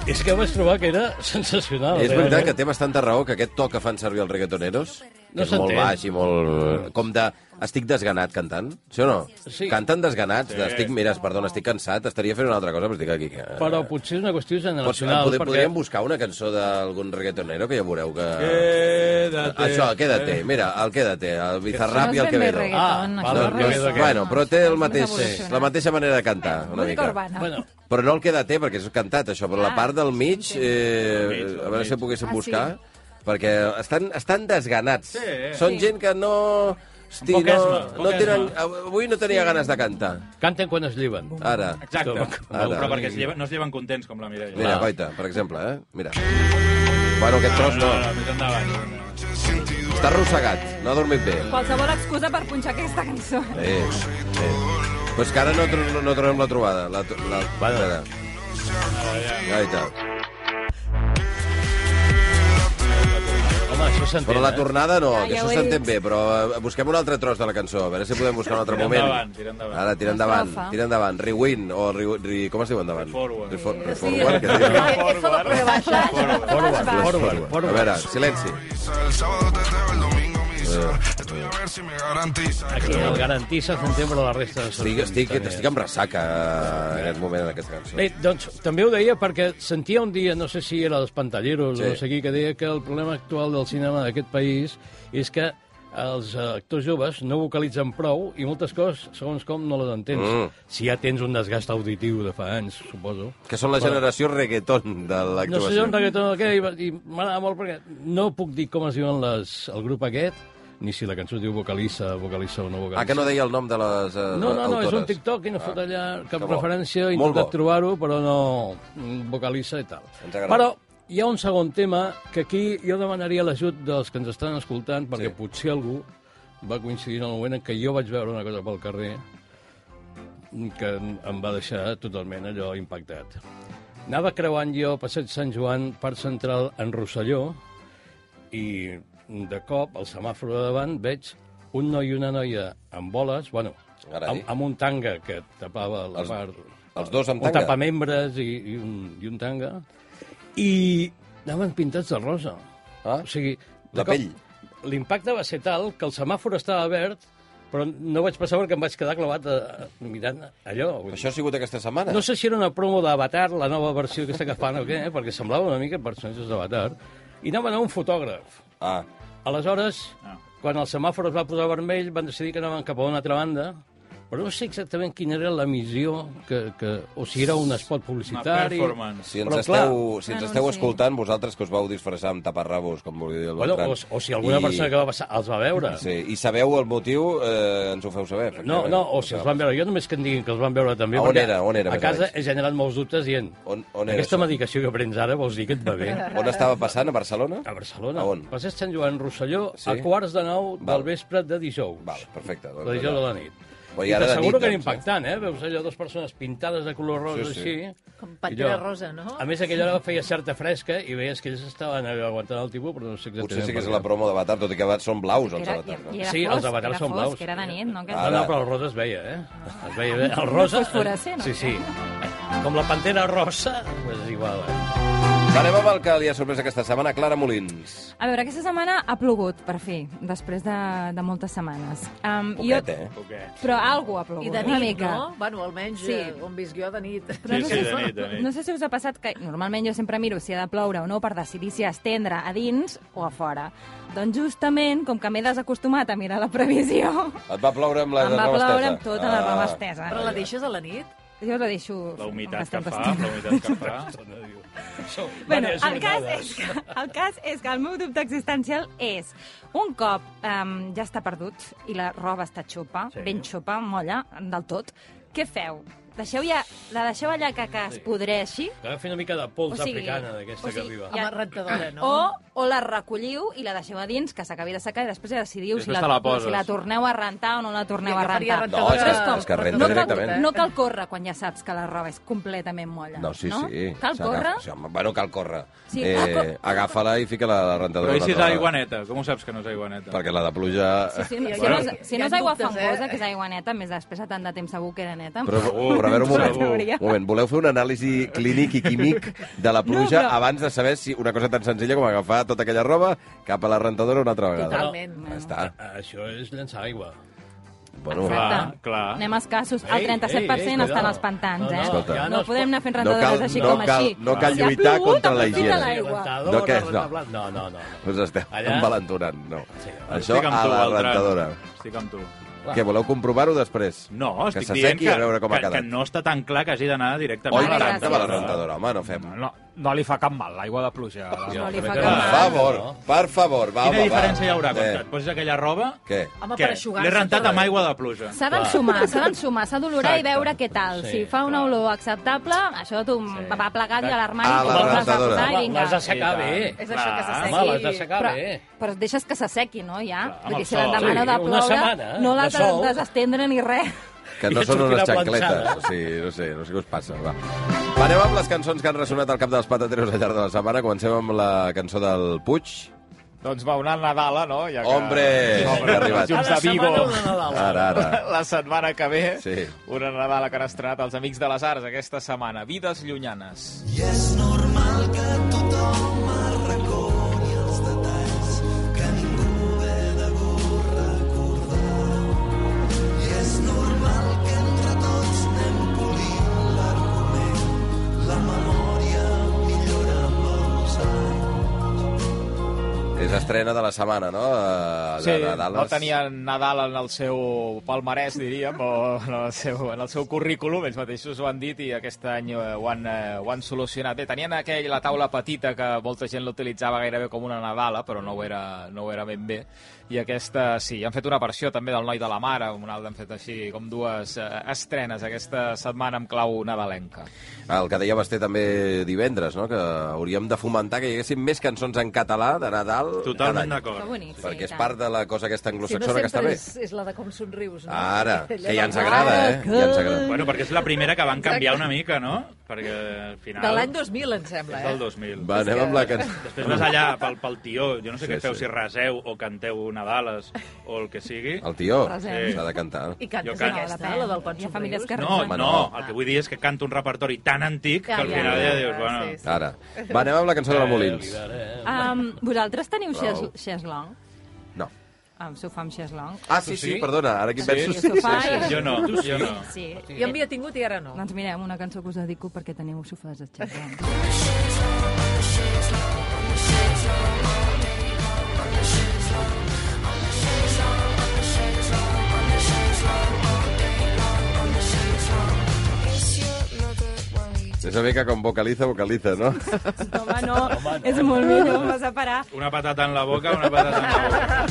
[SPEAKER 4] És que vaig trobar que era sensacional.
[SPEAKER 3] És veritat
[SPEAKER 4] realment.
[SPEAKER 3] que té bastanta raó que aquest to que fan servir els reggaetoneros
[SPEAKER 4] No
[SPEAKER 3] és molt
[SPEAKER 4] s'entén.
[SPEAKER 3] baix i molt... Com de... Estic desganat cantant, sí o no?
[SPEAKER 4] Sí.
[SPEAKER 3] Canten desganats, sí. estic... Mira, perdona, estic cansat, estaria fent una altra cosa, però estic aquí.
[SPEAKER 4] Però potser és una qüestió
[SPEAKER 3] Pots,
[SPEAKER 4] generacional.
[SPEAKER 3] poder,
[SPEAKER 4] perquè...
[SPEAKER 3] Podríem buscar una cançó d'algun reggaetonero que ja veureu que...
[SPEAKER 6] Quédate.
[SPEAKER 3] Això, quédate, mira, el quédate, el Bizarrap
[SPEAKER 5] No
[SPEAKER 3] i
[SPEAKER 5] és
[SPEAKER 3] el
[SPEAKER 5] ben bé
[SPEAKER 3] Quevedo.
[SPEAKER 5] reggaeton,
[SPEAKER 4] Ah,
[SPEAKER 5] això.
[SPEAKER 4] val,
[SPEAKER 3] No,
[SPEAKER 4] el
[SPEAKER 3] no,
[SPEAKER 4] Quevedo
[SPEAKER 3] és-
[SPEAKER 4] aquest.
[SPEAKER 3] bueno, però té el
[SPEAKER 5] És
[SPEAKER 3] mateix,
[SPEAKER 5] evolucionat.
[SPEAKER 3] la mateixa manera de cantar, una
[SPEAKER 5] Música
[SPEAKER 3] mica.
[SPEAKER 5] urbana.
[SPEAKER 4] Bueno,
[SPEAKER 3] Però no el quédate, perquè és cantat, això, però la
[SPEAKER 5] Ah,
[SPEAKER 3] part del mig,
[SPEAKER 6] mig,
[SPEAKER 3] eh,
[SPEAKER 6] del
[SPEAKER 3] a veure si
[SPEAKER 6] mig.
[SPEAKER 3] ho poguéssim
[SPEAKER 5] Ah, sí.
[SPEAKER 3] buscar, perquè estan, estan desganats.
[SPEAKER 6] Sí.
[SPEAKER 3] Són gent que no... Hosti,
[SPEAKER 6] Amb poc
[SPEAKER 3] no,
[SPEAKER 6] esma,
[SPEAKER 3] no
[SPEAKER 6] poc
[SPEAKER 3] tenen, avui no tenia ganes de cantar.
[SPEAKER 4] canten quan es lleven.
[SPEAKER 3] Ara.
[SPEAKER 6] Exacte.
[SPEAKER 3] Ara.
[SPEAKER 6] Però perquè es lleven, no es lleven contents, com la Mireia.
[SPEAKER 3] Mira,
[SPEAKER 4] Va.
[SPEAKER 3] goita, per exemple, eh? Mira. Bueno, aquest
[SPEAKER 6] No,
[SPEAKER 3] tros
[SPEAKER 6] no,
[SPEAKER 3] no.
[SPEAKER 6] no, més endavant.
[SPEAKER 3] Està arrossegat, no ha dormit bé.
[SPEAKER 5] Qualsevol excusa per punxar aquesta cançó.
[SPEAKER 3] Eh, eh. Però és que ara no, tro- no, no trobem la trobada. La, tro- la,
[SPEAKER 4] Vale.
[SPEAKER 3] espera. Gaita.
[SPEAKER 4] Home, això s'entén,
[SPEAKER 3] Però la
[SPEAKER 4] eh?
[SPEAKER 3] tornada no,
[SPEAKER 5] Ja,
[SPEAKER 3] que
[SPEAKER 5] ja
[SPEAKER 3] això
[SPEAKER 5] ho he
[SPEAKER 3] s'entén
[SPEAKER 5] dit.
[SPEAKER 3] bé, però eh, busquem un altre tros de la cançó, a veure si podem buscar un altre
[SPEAKER 6] Tira
[SPEAKER 3] moment.
[SPEAKER 6] endavant, tira endavant.
[SPEAKER 3] Ara, tira
[SPEAKER 5] Una
[SPEAKER 3] endavant,
[SPEAKER 5] estrofa.
[SPEAKER 3] tira endavant. Rewind, o re, re, com es diu endavant?
[SPEAKER 6] Reforward.
[SPEAKER 3] Refor,
[SPEAKER 2] Sí,
[SPEAKER 3] reforward, que
[SPEAKER 2] és-
[SPEAKER 3] es diu.
[SPEAKER 2] és- és sota la baixa.
[SPEAKER 4] Forward, forward,
[SPEAKER 3] A
[SPEAKER 4] forward.
[SPEAKER 3] veure, silenci.
[SPEAKER 8] El sábado te traigo, el domingo misa. Estoy a ver si me garantiza.
[SPEAKER 4] Aquí el garantissa s'entén, però la resta... no
[SPEAKER 3] Estic,
[SPEAKER 4] s'entén
[SPEAKER 3] estic,
[SPEAKER 4] també.
[SPEAKER 3] estic amb ressaca eh, en aquest moment en aquesta cançó.
[SPEAKER 4] Bé, doncs també ho deia perquè sentia un dia, no sé si era dels pantalleros
[SPEAKER 3] Sí.
[SPEAKER 4] sí. o no sé qui, que deia que el problema actual del cinema d'aquest país és que els eh, actors joves no vocalitzen prou i moltes coses, segons com, no les entens.
[SPEAKER 3] Mm.
[SPEAKER 4] Mm. Si ja tens un desgast auditiu de fa anys, suposo.
[SPEAKER 3] Que són la generació reggaeton de
[SPEAKER 4] No sé si és
[SPEAKER 3] l'actuació.
[SPEAKER 4] un reggaeton o què, i, i m'agrada molt perquè no puc dir com es diuen les, el grup aquest, ni si la cançó es diu vocalissa, vocalissa o no vocalissa.
[SPEAKER 3] Ah, que no deia el nom de les eh,
[SPEAKER 4] No, no, no, és un
[SPEAKER 3] autores. Ah,
[SPEAKER 4] TikTok i no fot allà cap
[SPEAKER 3] que bo.
[SPEAKER 4] referència, he
[SPEAKER 3] Molt
[SPEAKER 4] intentat
[SPEAKER 3] bo.
[SPEAKER 4] trobar-ho, però no mm, vocalitza i tal.
[SPEAKER 3] Ens agrada.
[SPEAKER 4] Però hi ha un segon tema que aquí jo demanaria l'ajut dels que ens estan escoltant, perquè
[SPEAKER 3] Sí.
[SPEAKER 4] potser algú va coincidir en el moment en què jo vaig veure una cosa pel carrer que em em va deixar totalment allò impactat. Anava creuant jo Passeig Sant Joan, Parc Central, en Rosselló, i de cop, al semàfor de davant, veig un noi i una noia amb boles, bueno,
[SPEAKER 3] Carai.
[SPEAKER 4] amb, amb un tanga que tapava la
[SPEAKER 3] Els-
[SPEAKER 4] part...
[SPEAKER 3] els dos amb
[SPEAKER 4] un
[SPEAKER 3] tanga?
[SPEAKER 4] tapamembres i, i, un, i un tanga. I anaven pintats de rosa.
[SPEAKER 3] Ah.
[SPEAKER 4] O sigui... de
[SPEAKER 3] La
[SPEAKER 4] cop,
[SPEAKER 3] pell.
[SPEAKER 4] L'impacte va ser tal que el semàfor estava verd però no vaig passar perquè em vaig quedar clavat eh, mirant allò. Vull dir.
[SPEAKER 3] Això ha sigut aquesta setmana?
[SPEAKER 4] No sé si era una promo d'Avatar, la nova versió aquesta que fan o què, eh? perquè semblava una mica personatges d'Avatar, i anaven a un fotògraf.
[SPEAKER 3] Ah,
[SPEAKER 4] Aleshores,
[SPEAKER 6] Ah.
[SPEAKER 4] quan el semàfor es va posar vermell, van decidir que anaven cap a una altra banda, però no sé exactament quina era la missió, que, que, o si era un espot
[SPEAKER 6] Una
[SPEAKER 4] publicitari...
[SPEAKER 6] performance.
[SPEAKER 3] si ens,
[SPEAKER 4] Però, clar,
[SPEAKER 3] esteu, si ens
[SPEAKER 5] un
[SPEAKER 3] esteu
[SPEAKER 5] anunci.
[SPEAKER 3] escoltant, vosaltres que us vau disfressar amb taparrabos, com volia dir el
[SPEAKER 4] Bueno,
[SPEAKER 3] Bertran.
[SPEAKER 4] o, o si alguna I... persona que va passar els va veure.
[SPEAKER 3] Sí, i sabeu el motiu, eh, ens ho feu saber.
[SPEAKER 4] No,
[SPEAKER 3] efectivament.
[SPEAKER 4] no, o si els van veure. Jo només que em diguin que els van veure també.
[SPEAKER 3] A on
[SPEAKER 4] perquè
[SPEAKER 3] era? On era,
[SPEAKER 4] A
[SPEAKER 3] més o
[SPEAKER 4] casa
[SPEAKER 3] menys?
[SPEAKER 4] he generat molts dubtes dient...
[SPEAKER 3] On- on era
[SPEAKER 4] aquesta
[SPEAKER 3] això?"
[SPEAKER 4] medicació que prens ara vols dir que et va bé?
[SPEAKER 3] On estava passant, a Barcelona?
[SPEAKER 4] A Barcelona.
[SPEAKER 3] A on?
[SPEAKER 4] Passés Sant Joan Rosselló
[SPEAKER 3] Sí?
[SPEAKER 4] a quarts de nou
[SPEAKER 3] Val.
[SPEAKER 4] del vespre de dijous.
[SPEAKER 3] Val, perfecte. Doncs,
[SPEAKER 4] De dijous a la nit.
[SPEAKER 3] Però i
[SPEAKER 4] I
[SPEAKER 3] ara de
[SPEAKER 4] t'asseguro
[SPEAKER 3] nit,
[SPEAKER 4] que era
[SPEAKER 3] doncs, eh?
[SPEAKER 4] impactant, eh? Veus allò, dues persones pintades de color rosa
[SPEAKER 3] Sí, sí.
[SPEAKER 4] així.
[SPEAKER 2] Com
[SPEAKER 4] I
[SPEAKER 2] Pantera
[SPEAKER 4] jo-
[SPEAKER 2] Rosa, no?
[SPEAKER 4] A més, aquella hora feia certa fresca i veies que ells estaven aguantant el tipus, però no sé exactament...
[SPEAKER 3] eh, Potser sí que és
[SPEAKER 4] per
[SPEAKER 3] la
[SPEAKER 4] què.
[SPEAKER 3] promo d'Avatar, tot i que són blaus els
[SPEAKER 5] Era, i,
[SPEAKER 3] avatars.
[SPEAKER 5] i
[SPEAKER 3] No?
[SPEAKER 5] era
[SPEAKER 4] Sí,
[SPEAKER 5] fosc,
[SPEAKER 4] els avatars
[SPEAKER 5] era
[SPEAKER 4] són
[SPEAKER 5] fosc,
[SPEAKER 4] blaus.
[SPEAKER 5] Era de nit, no? Aquest...
[SPEAKER 4] No,
[SPEAKER 3] Ara.
[SPEAKER 4] no, però el rosa es veia, eh? Es veia bé. El rosa...
[SPEAKER 5] Ah. fosforescent, no?
[SPEAKER 4] Sí, sí. Com la pantera rosa, doncs és igual, eh?
[SPEAKER 3] Va, anem amb el que li ha sorprès aquesta setmana, Clara Molins.
[SPEAKER 5] A veure, aquesta setmana ha plogut, per fi, després de, de moltes setmanes. Um,
[SPEAKER 3] Poquet, eh?
[SPEAKER 6] Poquet.
[SPEAKER 5] Però alguna ha plogut,
[SPEAKER 2] I de
[SPEAKER 5] una
[SPEAKER 2] nit,
[SPEAKER 5] mica.
[SPEAKER 2] no? Bueno, almenys
[SPEAKER 5] Sí.
[SPEAKER 2] sí. on visc jo, de nit.
[SPEAKER 5] Però
[SPEAKER 6] Sí,
[SPEAKER 5] no,
[SPEAKER 6] sí,
[SPEAKER 5] sé,
[SPEAKER 6] de nit, de nit.
[SPEAKER 5] no sé si us ha passat que normalment jo sempre miro si ha de ploure o no per decidir si estendre a dins o a fora. Doncs justament, com que m'he desacostumat a mirar la previsió,
[SPEAKER 3] Et va ploure amb la
[SPEAKER 5] em va
[SPEAKER 3] rama
[SPEAKER 5] ploure
[SPEAKER 3] estesa. Ah.
[SPEAKER 5] amb tota la rama estesa.
[SPEAKER 2] Però la deixes a la nit?
[SPEAKER 5] Jo la deixo...
[SPEAKER 6] Ah. La humitat que
[SPEAKER 5] bastanta
[SPEAKER 6] fa,
[SPEAKER 5] estona.
[SPEAKER 6] la humitat que fa.
[SPEAKER 5] Bueno, el cas, és que, el cas és que el meu dubte existencial és un cop um, ja està perdut i la roba està xopa, sí. ben xopa, molla, del tot, què feu? Deixeu ja, la deixeu allà que, que es podreixi?
[SPEAKER 4] Que va fer una mica de pols
[SPEAKER 5] O sigui,
[SPEAKER 4] africana, d'aquesta
[SPEAKER 5] o sigui,
[SPEAKER 4] que arriba.
[SPEAKER 5] Ja.
[SPEAKER 2] Amb
[SPEAKER 5] Oh,
[SPEAKER 2] la rentadora, no?
[SPEAKER 5] O, o la recolliu i la deixeu a dins, que s'acabi de secar, i després ja decidiu si
[SPEAKER 6] Després
[SPEAKER 5] la, doncs,
[SPEAKER 6] te la poses.
[SPEAKER 5] si la torneu a rentar o no la torneu a
[SPEAKER 2] Jo faria
[SPEAKER 5] rentar.
[SPEAKER 3] No, és que-
[SPEAKER 5] Però
[SPEAKER 3] és que renta
[SPEAKER 5] no
[SPEAKER 3] directament.
[SPEAKER 5] Cal, no cal córrer quan ja saps que la roba és completament molla.
[SPEAKER 3] No, sí,
[SPEAKER 5] no?
[SPEAKER 3] sí.
[SPEAKER 5] Cal
[SPEAKER 3] S'agafa-
[SPEAKER 5] córrer?
[SPEAKER 3] Sí, home, bueno, cal córrer.
[SPEAKER 5] Sí,
[SPEAKER 3] eh,
[SPEAKER 5] cal córrer.
[SPEAKER 3] Agafa-la i fica la, la rentadora.
[SPEAKER 6] Però i si és
[SPEAKER 3] una altra
[SPEAKER 6] aigua
[SPEAKER 3] vegada.
[SPEAKER 6] neta? Com ho saps que no és aigua neta?
[SPEAKER 3] Perquè la de pluja...
[SPEAKER 5] Sí, sí, no, si,
[SPEAKER 2] Bueno.
[SPEAKER 5] no, és- si
[SPEAKER 2] Hi
[SPEAKER 5] no
[SPEAKER 2] ha
[SPEAKER 5] és aigua
[SPEAKER 2] dubtes, eh?
[SPEAKER 5] fangosa, que és aigua neta, més després de tant de temps segur que era neta.
[SPEAKER 3] eh,
[SPEAKER 5] doncs,
[SPEAKER 3] Però, oh, però a
[SPEAKER 6] Segur,
[SPEAKER 3] veure, un moment,
[SPEAKER 6] segur.
[SPEAKER 3] un moment, voleu fer una anàlisi clínic i químic de la pluja
[SPEAKER 5] No, però-
[SPEAKER 3] abans de saber si una cosa tan senzilla com agafar tota aquella roba cap a la rentadora una altra vegada.
[SPEAKER 2] Totalment.
[SPEAKER 3] Ja Està.
[SPEAKER 4] Ah, Això és llençar aigua.
[SPEAKER 3] Bueno,
[SPEAKER 5] Exacte.
[SPEAKER 6] Ah, clar.
[SPEAKER 5] Anem escassos.
[SPEAKER 4] Ei,
[SPEAKER 5] El 37%
[SPEAKER 4] ei, ei,
[SPEAKER 5] estan
[SPEAKER 4] cuidado.
[SPEAKER 5] als pantans,
[SPEAKER 4] No, no,
[SPEAKER 5] eh?
[SPEAKER 3] Escolta. ja
[SPEAKER 5] no,
[SPEAKER 4] no es
[SPEAKER 5] podem anar fent
[SPEAKER 3] no
[SPEAKER 5] rentadores
[SPEAKER 3] cal,
[SPEAKER 5] així
[SPEAKER 3] no
[SPEAKER 5] com
[SPEAKER 3] cal,
[SPEAKER 5] així.
[SPEAKER 3] no cal
[SPEAKER 5] Si ha
[SPEAKER 3] lluitar
[SPEAKER 5] plogut,
[SPEAKER 3] contra la
[SPEAKER 5] aprofita
[SPEAKER 3] higiene.
[SPEAKER 5] l'aigua.
[SPEAKER 3] No,
[SPEAKER 4] No,
[SPEAKER 3] què
[SPEAKER 4] què
[SPEAKER 3] és? No.
[SPEAKER 4] No, no, no. no.
[SPEAKER 3] Us esteu
[SPEAKER 4] Allà?
[SPEAKER 3] doncs envalentonant, no.
[SPEAKER 4] Sí.
[SPEAKER 3] Això
[SPEAKER 6] Estic amb
[SPEAKER 3] a
[SPEAKER 6] tu,
[SPEAKER 3] la
[SPEAKER 6] Beltran.
[SPEAKER 3] rentadora.
[SPEAKER 6] Estic amb tu.
[SPEAKER 3] Què, voleu comprovar-ho després?
[SPEAKER 6] No, estic
[SPEAKER 3] que
[SPEAKER 6] dient
[SPEAKER 3] s'assequi
[SPEAKER 6] que,
[SPEAKER 3] a veure com
[SPEAKER 6] que,
[SPEAKER 3] ha quedat.
[SPEAKER 6] que no està tan clar que hagi d'anar directament
[SPEAKER 3] Oi,
[SPEAKER 5] Vale,
[SPEAKER 6] a la
[SPEAKER 5] gràcies.
[SPEAKER 3] anem a la
[SPEAKER 6] rentadora.
[SPEAKER 3] rentadora, home, no fem...
[SPEAKER 7] No, no li fa cap mal, l'aigua de pluja. a la-
[SPEAKER 5] No li fa
[SPEAKER 4] Per
[SPEAKER 3] Per
[SPEAKER 5] cap mal.
[SPEAKER 3] favor, per favor, va,
[SPEAKER 6] Quina
[SPEAKER 3] home, va.
[SPEAKER 6] diferència hi haurà quan
[SPEAKER 3] Eh,
[SPEAKER 6] et posis aquella roba?
[SPEAKER 3] Què?
[SPEAKER 2] Home,
[SPEAKER 6] Què?
[SPEAKER 2] per aixugar-se.
[SPEAKER 6] L'he rentat
[SPEAKER 2] tot.
[SPEAKER 6] amb aigua de pluja.
[SPEAKER 5] S'ha d'ensumar, s'ha d'ensumar, s'ha d'olorar i
[SPEAKER 4] Exacte.
[SPEAKER 5] veure què tal.
[SPEAKER 4] Sí,
[SPEAKER 5] si fa una
[SPEAKER 4] clar.
[SPEAKER 5] olor acceptable, això tu va plegat i a l'armari
[SPEAKER 3] A
[SPEAKER 5] i
[SPEAKER 3] la
[SPEAKER 5] tu vas
[SPEAKER 3] rentadora.
[SPEAKER 5] posar i
[SPEAKER 4] Home,
[SPEAKER 5] vinga.
[SPEAKER 4] L'has d'assecar bé.
[SPEAKER 2] És
[SPEAKER 6] Ah,
[SPEAKER 2] això que s'assequi.
[SPEAKER 4] Home, l'has d'assecar
[SPEAKER 5] Però,
[SPEAKER 4] bé.
[SPEAKER 5] però deixes que s'assequi, no, ja?
[SPEAKER 6] Clar, amb
[SPEAKER 5] Vull
[SPEAKER 6] el
[SPEAKER 5] dir, si
[SPEAKER 6] sol.
[SPEAKER 5] l'endemà no
[SPEAKER 4] Sí,
[SPEAKER 5] de
[SPEAKER 4] una
[SPEAKER 5] ploure,
[SPEAKER 4] setmana
[SPEAKER 5] no l'has
[SPEAKER 4] de
[SPEAKER 5] de,
[SPEAKER 4] sol.
[SPEAKER 5] desestendre ni res.
[SPEAKER 3] Que
[SPEAKER 4] I
[SPEAKER 3] no
[SPEAKER 4] et
[SPEAKER 3] són unes
[SPEAKER 4] sortirà
[SPEAKER 3] xancletes.
[SPEAKER 4] planxada.
[SPEAKER 3] Sí, no sé, no sé què us passa. Va. va, anem amb les cançons que han ressonat al cap dels patateros al llarg de la setmana. Comencem amb la cançó del Puig.
[SPEAKER 7] Doncs va, una Nadala, no? Ja que...
[SPEAKER 3] Hombre,
[SPEAKER 7] Hombre,
[SPEAKER 3] ha arribat.
[SPEAKER 7] Junts de Vigo.
[SPEAKER 4] setmana una Nadal.
[SPEAKER 3] Ara, ara.
[SPEAKER 7] La setmana que ve,
[SPEAKER 3] Sí.
[SPEAKER 7] una Nadala que han estrenat els Amics de les Arts aquesta setmana. Vides llunyanes.
[SPEAKER 3] És estrena de la setmana, no? De,
[SPEAKER 7] Sí,
[SPEAKER 3] de Nadal.
[SPEAKER 7] no tenia Nadal en el seu palmarès, diríem, o en el seu, en el seu currículum, ells mateixos ho han dit i aquest any eh, ho han, eh, ho han solucionat. Bé, tenien aquell, la taula petita que molta gent l'utilitzava gairebé com una Nadala, però no ho, era, no ho era ben bé. I aquesta, sí, han fet una versió també del Noi de la Mare, un altre han fet així com dues eh, estrenes aquesta setmana amb clau nadalenca.
[SPEAKER 3] El que deia Basté també divendres, no? Que hauríem de fomentar que hi haguessin més cançons en català de Nadal cada any.
[SPEAKER 6] Totalment
[SPEAKER 5] Que
[SPEAKER 6] d'acord.
[SPEAKER 5] bonic.
[SPEAKER 3] Perquè
[SPEAKER 5] sí,
[SPEAKER 3] és
[SPEAKER 5] i
[SPEAKER 3] part doncs de la cosa aquesta
[SPEAKER 2] Si no
[SPEAKER 3] anglosaxona
[SPEAKER 2] sempre
[SPEAKER 3] que està bé.
[SPEAKER 2] és, és la de com somrius, no?
[SPEAKER 3] Ara, que ja
[SPEAKER 2] Allò
[SPEAKER 3] ens
[SPEAKER 2] de-
[SPEAKER 3] agrada, eh?
[SPEAKER 2] Ah,
[SPEAKER 3] Ja ens agrada.
[SPEAKER 6] Bueno, perquè és la primera que van canviar una mica, no? Perquè al final...
[SPEAKER 2] De l'any 2000, em sembla,
[SPEAKER 6] És
[SPEAKER 2] eh?
[SPEAKER 6] del 2000.
[SPEAKER 3] Va, anem amb la cançó.
[SPEAKER 6] Després vas allà pel, pel tió, jo no sé
[SPEAKER 3] Sí,
[SPEAKER 6] sí, què feu,
[SPEAKER 3] sí.
[SPEAKER 6] sí. si reseu o canteu Nadales o el que sigui.
[SPEAKER 3] El tió
[SPEAKER 5] Resem.
[SPEAKER 3] s'ha de cantar.
[SPEAKER 2] I cantes
[SPEAKER 6] Jo canto.
[SPEAKER 2] aquesta, la del Pont
[SPEAKER 5] Hi ha famílies que
[SPEAKER 2] Somrius?
[SPEAKER 6] No,
[SPEAKER 5] resen.
[SPEAKER 6] no, el que vull dir és que canta un repertori tan antic que al
[SPEAKER 2] Ja,
[SPEAKER 6] final
[SPEAKER 2] ja,
[SPEAKER 6] ja
[SPEAKER 2] ja,
[SPEAKER 6] dius, bueno... ah,
[SPEAKER 2] sí, sí.
[SPEAKER 3] Ara. Va, anem amb la cançó de la Molins.
[SPEAKER 4] Eh,
[SPEAKER 5] Um, vosaltres teniu
[SPEAKER 3] Bravo.
[SPEAKER 5] xes- xeslong?
[SPEAKER 3] No.
[SPEAKER 5] amb sofà amb xeslong.
[SPEAKER 3] Ah, sí,
[SPEAKER 4] Tu
[SPEAKER 3] sí,
[SPEAKER 4] sí?
[SPEAKER 3] perdona, ara aquí penso...
[SPEAKER 5] Sí, sofà i-
[SPEAKER 6] Jo no, jo no.
[SPEAKER 5] Sí.
[SPEAKER 2] Jo en havia tingut i ara no.
[SPEAKER 5] Doncs mirem una cançó que us dedico perquè teniu sofàs de xeslong.
[SPEAKER 3] És una mica com vocaliza, vocaliza, no?
[SPEAKER 5] Home, no, és molt millor, em vas a parar.
[SPEAKER 6] Una patata en la boca, una patata en la boca.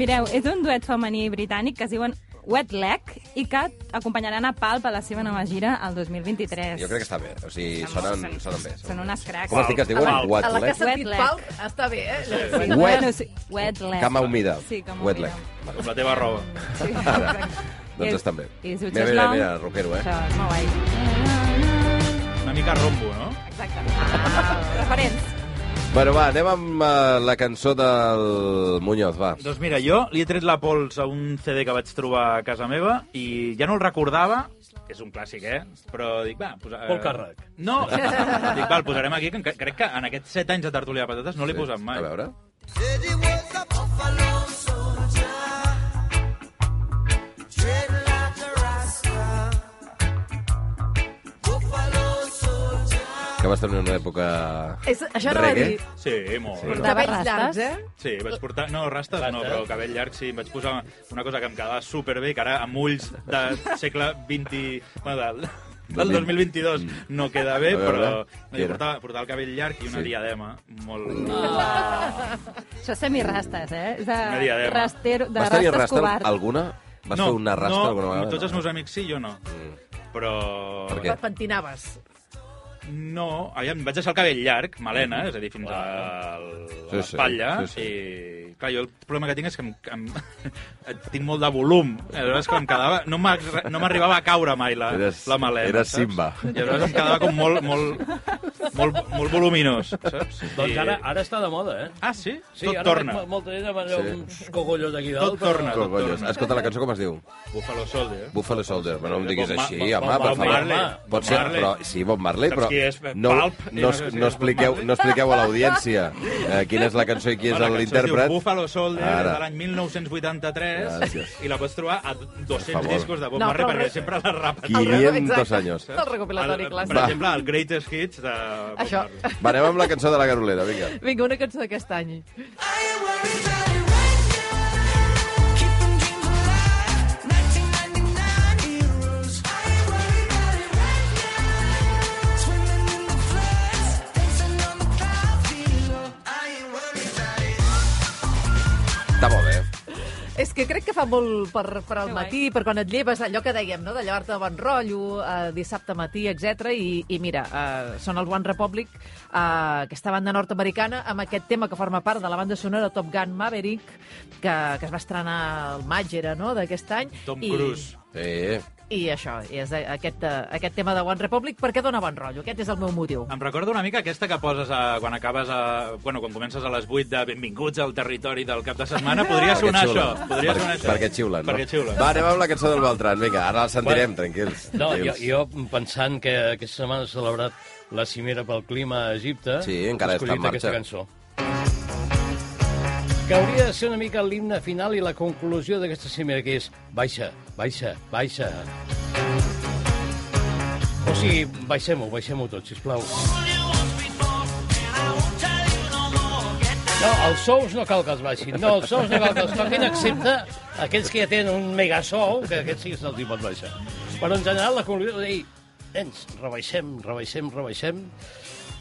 [SPEAKER 5] Mireu, és un duet femení britànic que es diuen Wet Leg i que acompanyaran a Palp a la seva nova gira el 2023.
[SPEAKER 3] Jo crec que està bé, o sigui, sonen, sonen bé.
[SPEAKER 5] Són unes cracs.
[SPEAKER 3] Com es diu que es diuen?
[SPEAKER 5] Palp.
[SPEAKER 3] What
[SPEAKER 2] A la que
[SPEAKER 3] leg?
[SPEAKER 2] has sentit
[SPEAKER 5] Wet leg.
[SPEAKER 2] pal, està bé, eh?
[SPEAKER 5] Sí,
[SPEAKER 3] Wet-
[SPEAKER 5] bueno, sí, Wet Leg.
[SPEAKER 3] Cama humida.
[SPEAKER 5] Sí, cama
[SPEAKER 3] Wet
[SPEAKER 5] humida.
[SPEAKER 3] leg. Vale.
[SPEAKER 6] Com la teva roba.
[SPEAKER 5] Sí,
[SPEAKER 3] Doncs estan bé.
[SPEAKER 5] I es diu
[SPEAKER 3] Mira, mira,
[SPEAKER 5] Cheslong.
[SPEAKER 3] mira, rockero, eh?
[SPEAKER 5] Això és molt guai.
[SPEAKER 6] Una mica rombo, no?
[SPEAKER 5] Exacte. Ah, referents.
[SPEAKER 3] Bueno, va, anem amb eh, la cançó del Muñoz, va.
[SPEAKER 6] Doncs mira, jo li he tret la pols a un CD que vaig trobar a casa meva i ja no el recordava, és un clàssic, eh? Però dic, va... Posa, eh,
[SPEAKER 4] Pol Càrrec.
[SPEAKER 6] No, dic, va, el posarem aquí, que enca- crec que en aquests 7 anys de tertúlia de patates no l'he posat mai.
[SPEAKER 3] A veure. Que vas tenir una època...
[SPEAKER 2] És, això anava a
[SPEAKER 3] Reggae?
[SPEAKER 2] dir.
[SPEAKER 6] Sí, molt.
[SPEAKER 3] Sí,
[SPEAKER 6] Sí.
[SPEAKER 5] no?
[SPEAKER 2] Cabells
[SPEAKER 5] Rastes?
[SPEAKER 2] llargs, eh?
[SPEAKER 6] Sí, vaig portar... No, rastes no, però cabell llarg sí. Em vaig posar una cosa que em quedava superbé, que ara amb ulls de segle 20... Bueno, del, del 2022 no queda bé,
[SPEAKER 3] Mm. A veure,
[SPEAKER 6] però
[SPEAKER 3] què era?
[SPEAKER 6] no, portava, portava el cabell llarg i una
[SPEAKER 3] Sí. Ah.
[SPEAKER 6] diadema molt...
[SPEAKER 5] Això és semirastes, eh? És
[SPEAKER 6] Una
[SPEAKER 5] de,
[SPEAKER 6] diadema.
[SPEAKER 5] rastero, de
[SPEAKER 3] vas tenir
[SPEAKER 5] rastes
[SPEAKER 3] rastre
[SPEAKER 5] covards.
[SPEAKER 3] alguna? Vas fer una rastra
[SPEAKER 6] no,
[SPEAKER 3] alguna vegada?
[SPEAKER 6] Tots els meus amics sí, jo no. Però...
[SPEAKER 3] Mm. Per què?
[SPEAKER 2] Te pentinaves.
[SPEAKER 6] No, aviam, vaig deixar el cabell llarg, melena, és a dir, fins a
[SPEAKER 3] Mm. Sí, sí,
[SPEAKER 6] l'espatlla,
[SPEAKER 3] sí, sí.
[SPEAKER 6] i clar, jo el problema que tinc és que em, em, tinc molt de volum, aleshores que em quedava, no m'ha- no m'arribava a caure mai la,
[SPEAKER 3] Eres-
[SPEAKER 6] la melena,
[SPEAKER 3] eres
[SPEAKER 6] saps?
[SPEAKER 3] Simba.
[SPEAKER 6] I aleshores em quedava com molt, molt, molt, molt voluminós, saps? I-
[SPEAKER 4] Doncs ara, ara està de moda, eh?
[SPEAKER 6] Ah, sí?
[SPEAKER 4] Sí,
[SPEAKER 6] Tot
[SPEAKER 4] ara
[SPEAKER 6] torna.
[SPEAKER 4] veig mo- Molta gent amb allò,
[SPEAKER 3] Sí.
[SPEAKER 4] uns cogollos aquí dalt.
[SPEAKER 6] Tot torna, tot
[SPEAKER 3] Cogollos.
[SPEAKER 6] torna.
[SPEAKER 3] Escolta, la cançó com es diu?
[SPEAKER 6] Buffalo Soldier.
[SPEAKER 3] Buffalo Soldier, però no em diguis
[SPEAKER 6] Bob Ma-
[SPEAKER 3] així,
[SPEAKER 6] Bob-
[SPEAKER 3] home,
[SPEAKER 6] Bob
[SPEAKER 3] per favor.
[SPEAKER 6] Marley.
[SPEAKER 3] Pot
[SPEAKER 6] Bob
[SPEAKER 3] ser,
[SPEAKER 6] Marley.
[SPEAKER 3] però, sí, Bob Marley,
[SPEAKER 6] Saps
[SPEAKER 3] però
[SPEAKER 6] qui és?
[SPEAKER 3] no,
[SPEAKER 6] Pulp, i
[SPEAKER 3] no,
[SPEAKER 6] no
[SPEAKER 3] es-
[SPEAKER 6] sé si
[SPEAKER 3] no,
[SPEAKER 6] és Bob
[SPEAKER 3] expliqueu,
[SPEAKER 6] Marley.
[SPEAKER 3] no expliqueu a l'audiència eh, quina és la cançó i qui és
[SPEAKER 6] Bueno, la cançó es diu
[SPEAKER 3] l'intèrpret.
[SPEAKER 6] Buffalo Soldier,
[SPEAKER 3] Ara.
[SPEAKER 6] de l'any 1983,
[SPEAKER 3] Gràcies.
[SPEAKER 6] i la pots trobar a
[SPEAKER 3] Per
[SPEAKER 6] 200
[SPEAKER 3] favor.
[SPEAKER 6] discos de Bob
[SPEAKER 2] No,
[SPEAKER 6] Marley,
[SPEAKER 2] però-
[SPEAKER 6] perquè sempre la repetim.
[SPEAKER 2] El reco-
[SPEAKER 3] 500
[SPEAKER 2] exacte,
[SPEAKER 3] anys.
[SPEAKER 2] El recopilatori
[SPEAKER 6] Ah, Per
[SPEAKER 3] Va.
[SPEAKER 2] clàssic.
[SPEAKER 6] exemple, el Greatest Hits de Bob
[SPEAKER 2] Això.
[SPEAKER 6] Marley.
[SPEAKER 3] Va, anem amb la cançó de la Garolera, vinga.
[SPEAKER 2] Vinga, una cançó d'aquest any.
[SPEAKER 3] Està molt bé.
[SPEAKER 2] És que crec que fa molt per, per al
[SPEAKER 5] Que
[SPEAKER 2] matí, per quan et lleves, allò que dèiem, no? de llevar-te de bon rotllo, eh, dissabte matí, etc. I, I mira, eh, són els One Republic, eh, aquesta banda nord-americana, amb aquest tema que forma part de la banda sonora Top Gun Maverick, que, que es va estrenar al maig, era, no?, d'aquest any.
[SPEAKER 6] Tom
[SPEAKER 2] I-
[SPEAKER 6] Cruise.
[SPEAKER 3] Sí.
[SPEAKER 2] I això, i és de- aquest, eh, aquest tema de One Republic perquè dona bon rotllo. Aquest és el meu motiu.
[SPEAKER 6] Em recorda una mica aquesta que poses a, quan acabes a, bueno, quan comences a les 8 de Benvinguts al territori del cap de
[SPEAKER 2] Ah!
[SPEAKER 6] setmana. Podria
[SPEAKER 3] Perquè
[SPEAKER 6] sonar
[SPEAKER 3] xiulen.
[SPEAKER 6] això. Podria
[SPEAKER 3] Per-
[SPEAKER 6] sonar això.
[SPEAKER 3] Perquè xiulen, no?
[SPEAKER 6] Perquè xiulen.
[SPEAKER 3] Va, anem amb la cançó del Beltran, vinga, ara la sentirem,
[SPEAKER 4] Bueno.
[SPEAKER 3] tranquils.
[SPEAKER 4] No, jo,
[SPEAKER 3] tranquils.
[SPEAKER 4] jo pensant que aquesta setmana s'ha celebrat la cimera pel clima a Egipte...
[SPEAKER 3] Sí, encara
[SPEAKER 4] he
[SPEAKER 3] està en
[SPEAKER 4] escollit
[SPEAKER 3] marxa.
[SPEAKER 4] aquesta cançó. Que hauria de ser una mica l'himne final i la conclusió d'aquesta cimera, que és baixa, baixa, baixa. O sigui, baixem-ho, baixem-ho tot, sisplau. No, els sous no cal que els baixin. No, els sous no cal que els toquin, excepte aquells que ja tenen un megasou, que aquest sí que se'ls hi pot baixar. Però en general la conclusió és dir, nens, rebaixem, rebaixem, rebaixem,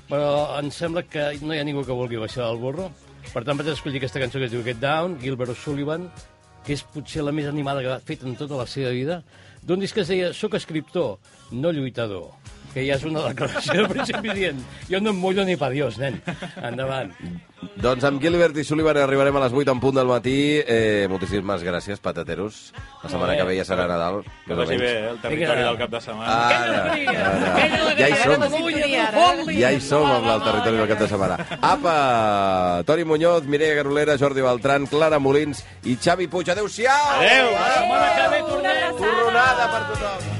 [SPEAKER 4] però em sembla que no hi ha ningú que vulgui baixar del borro. Per tant, vaig escollir aquesta cançó que es diu Get Down, Gilbert O'Sullivan, que és potser la més animada que ha fet en tota la seva vida, d'un disc que es deia Soc escriptor, no lluitador, que ja és una declaració de principi dient jo no em mullo ni pa Dios, nen. Endavant.
[SPEAKER 3] Doncs amb Gilbert i Sullivan arribarem a les 8 en punt del matí. Eh, moltíssimes gràcies, patateros. La setmana que ve ja serà Nadal.
[SPEAKER 6] Que
[SPEAKER 3] més o
[SPEAKER 6] vagi
[SPEAKER 3] menys.
[SPEAKER 6] bé eh, el territori
[SPEAKER 4] Vinga.
[SPEAKER 6] del cap de setmana.
[SPEAKER 3] Ara, ara. Ja hi som. Ja hi som amb el territori del cap de setmana. Apa! Toni Muñoz, Mireia Garolera, Jordi Beltran, Clara Molins i Xavi Puig. Adéu-siau!
[SPEAKER 6] Adéu!
[SPEAKER 3] Apa!
[SPEAKER 4] Setmana que ve tornem.
[SPEAKER 3] Tornada per tothom!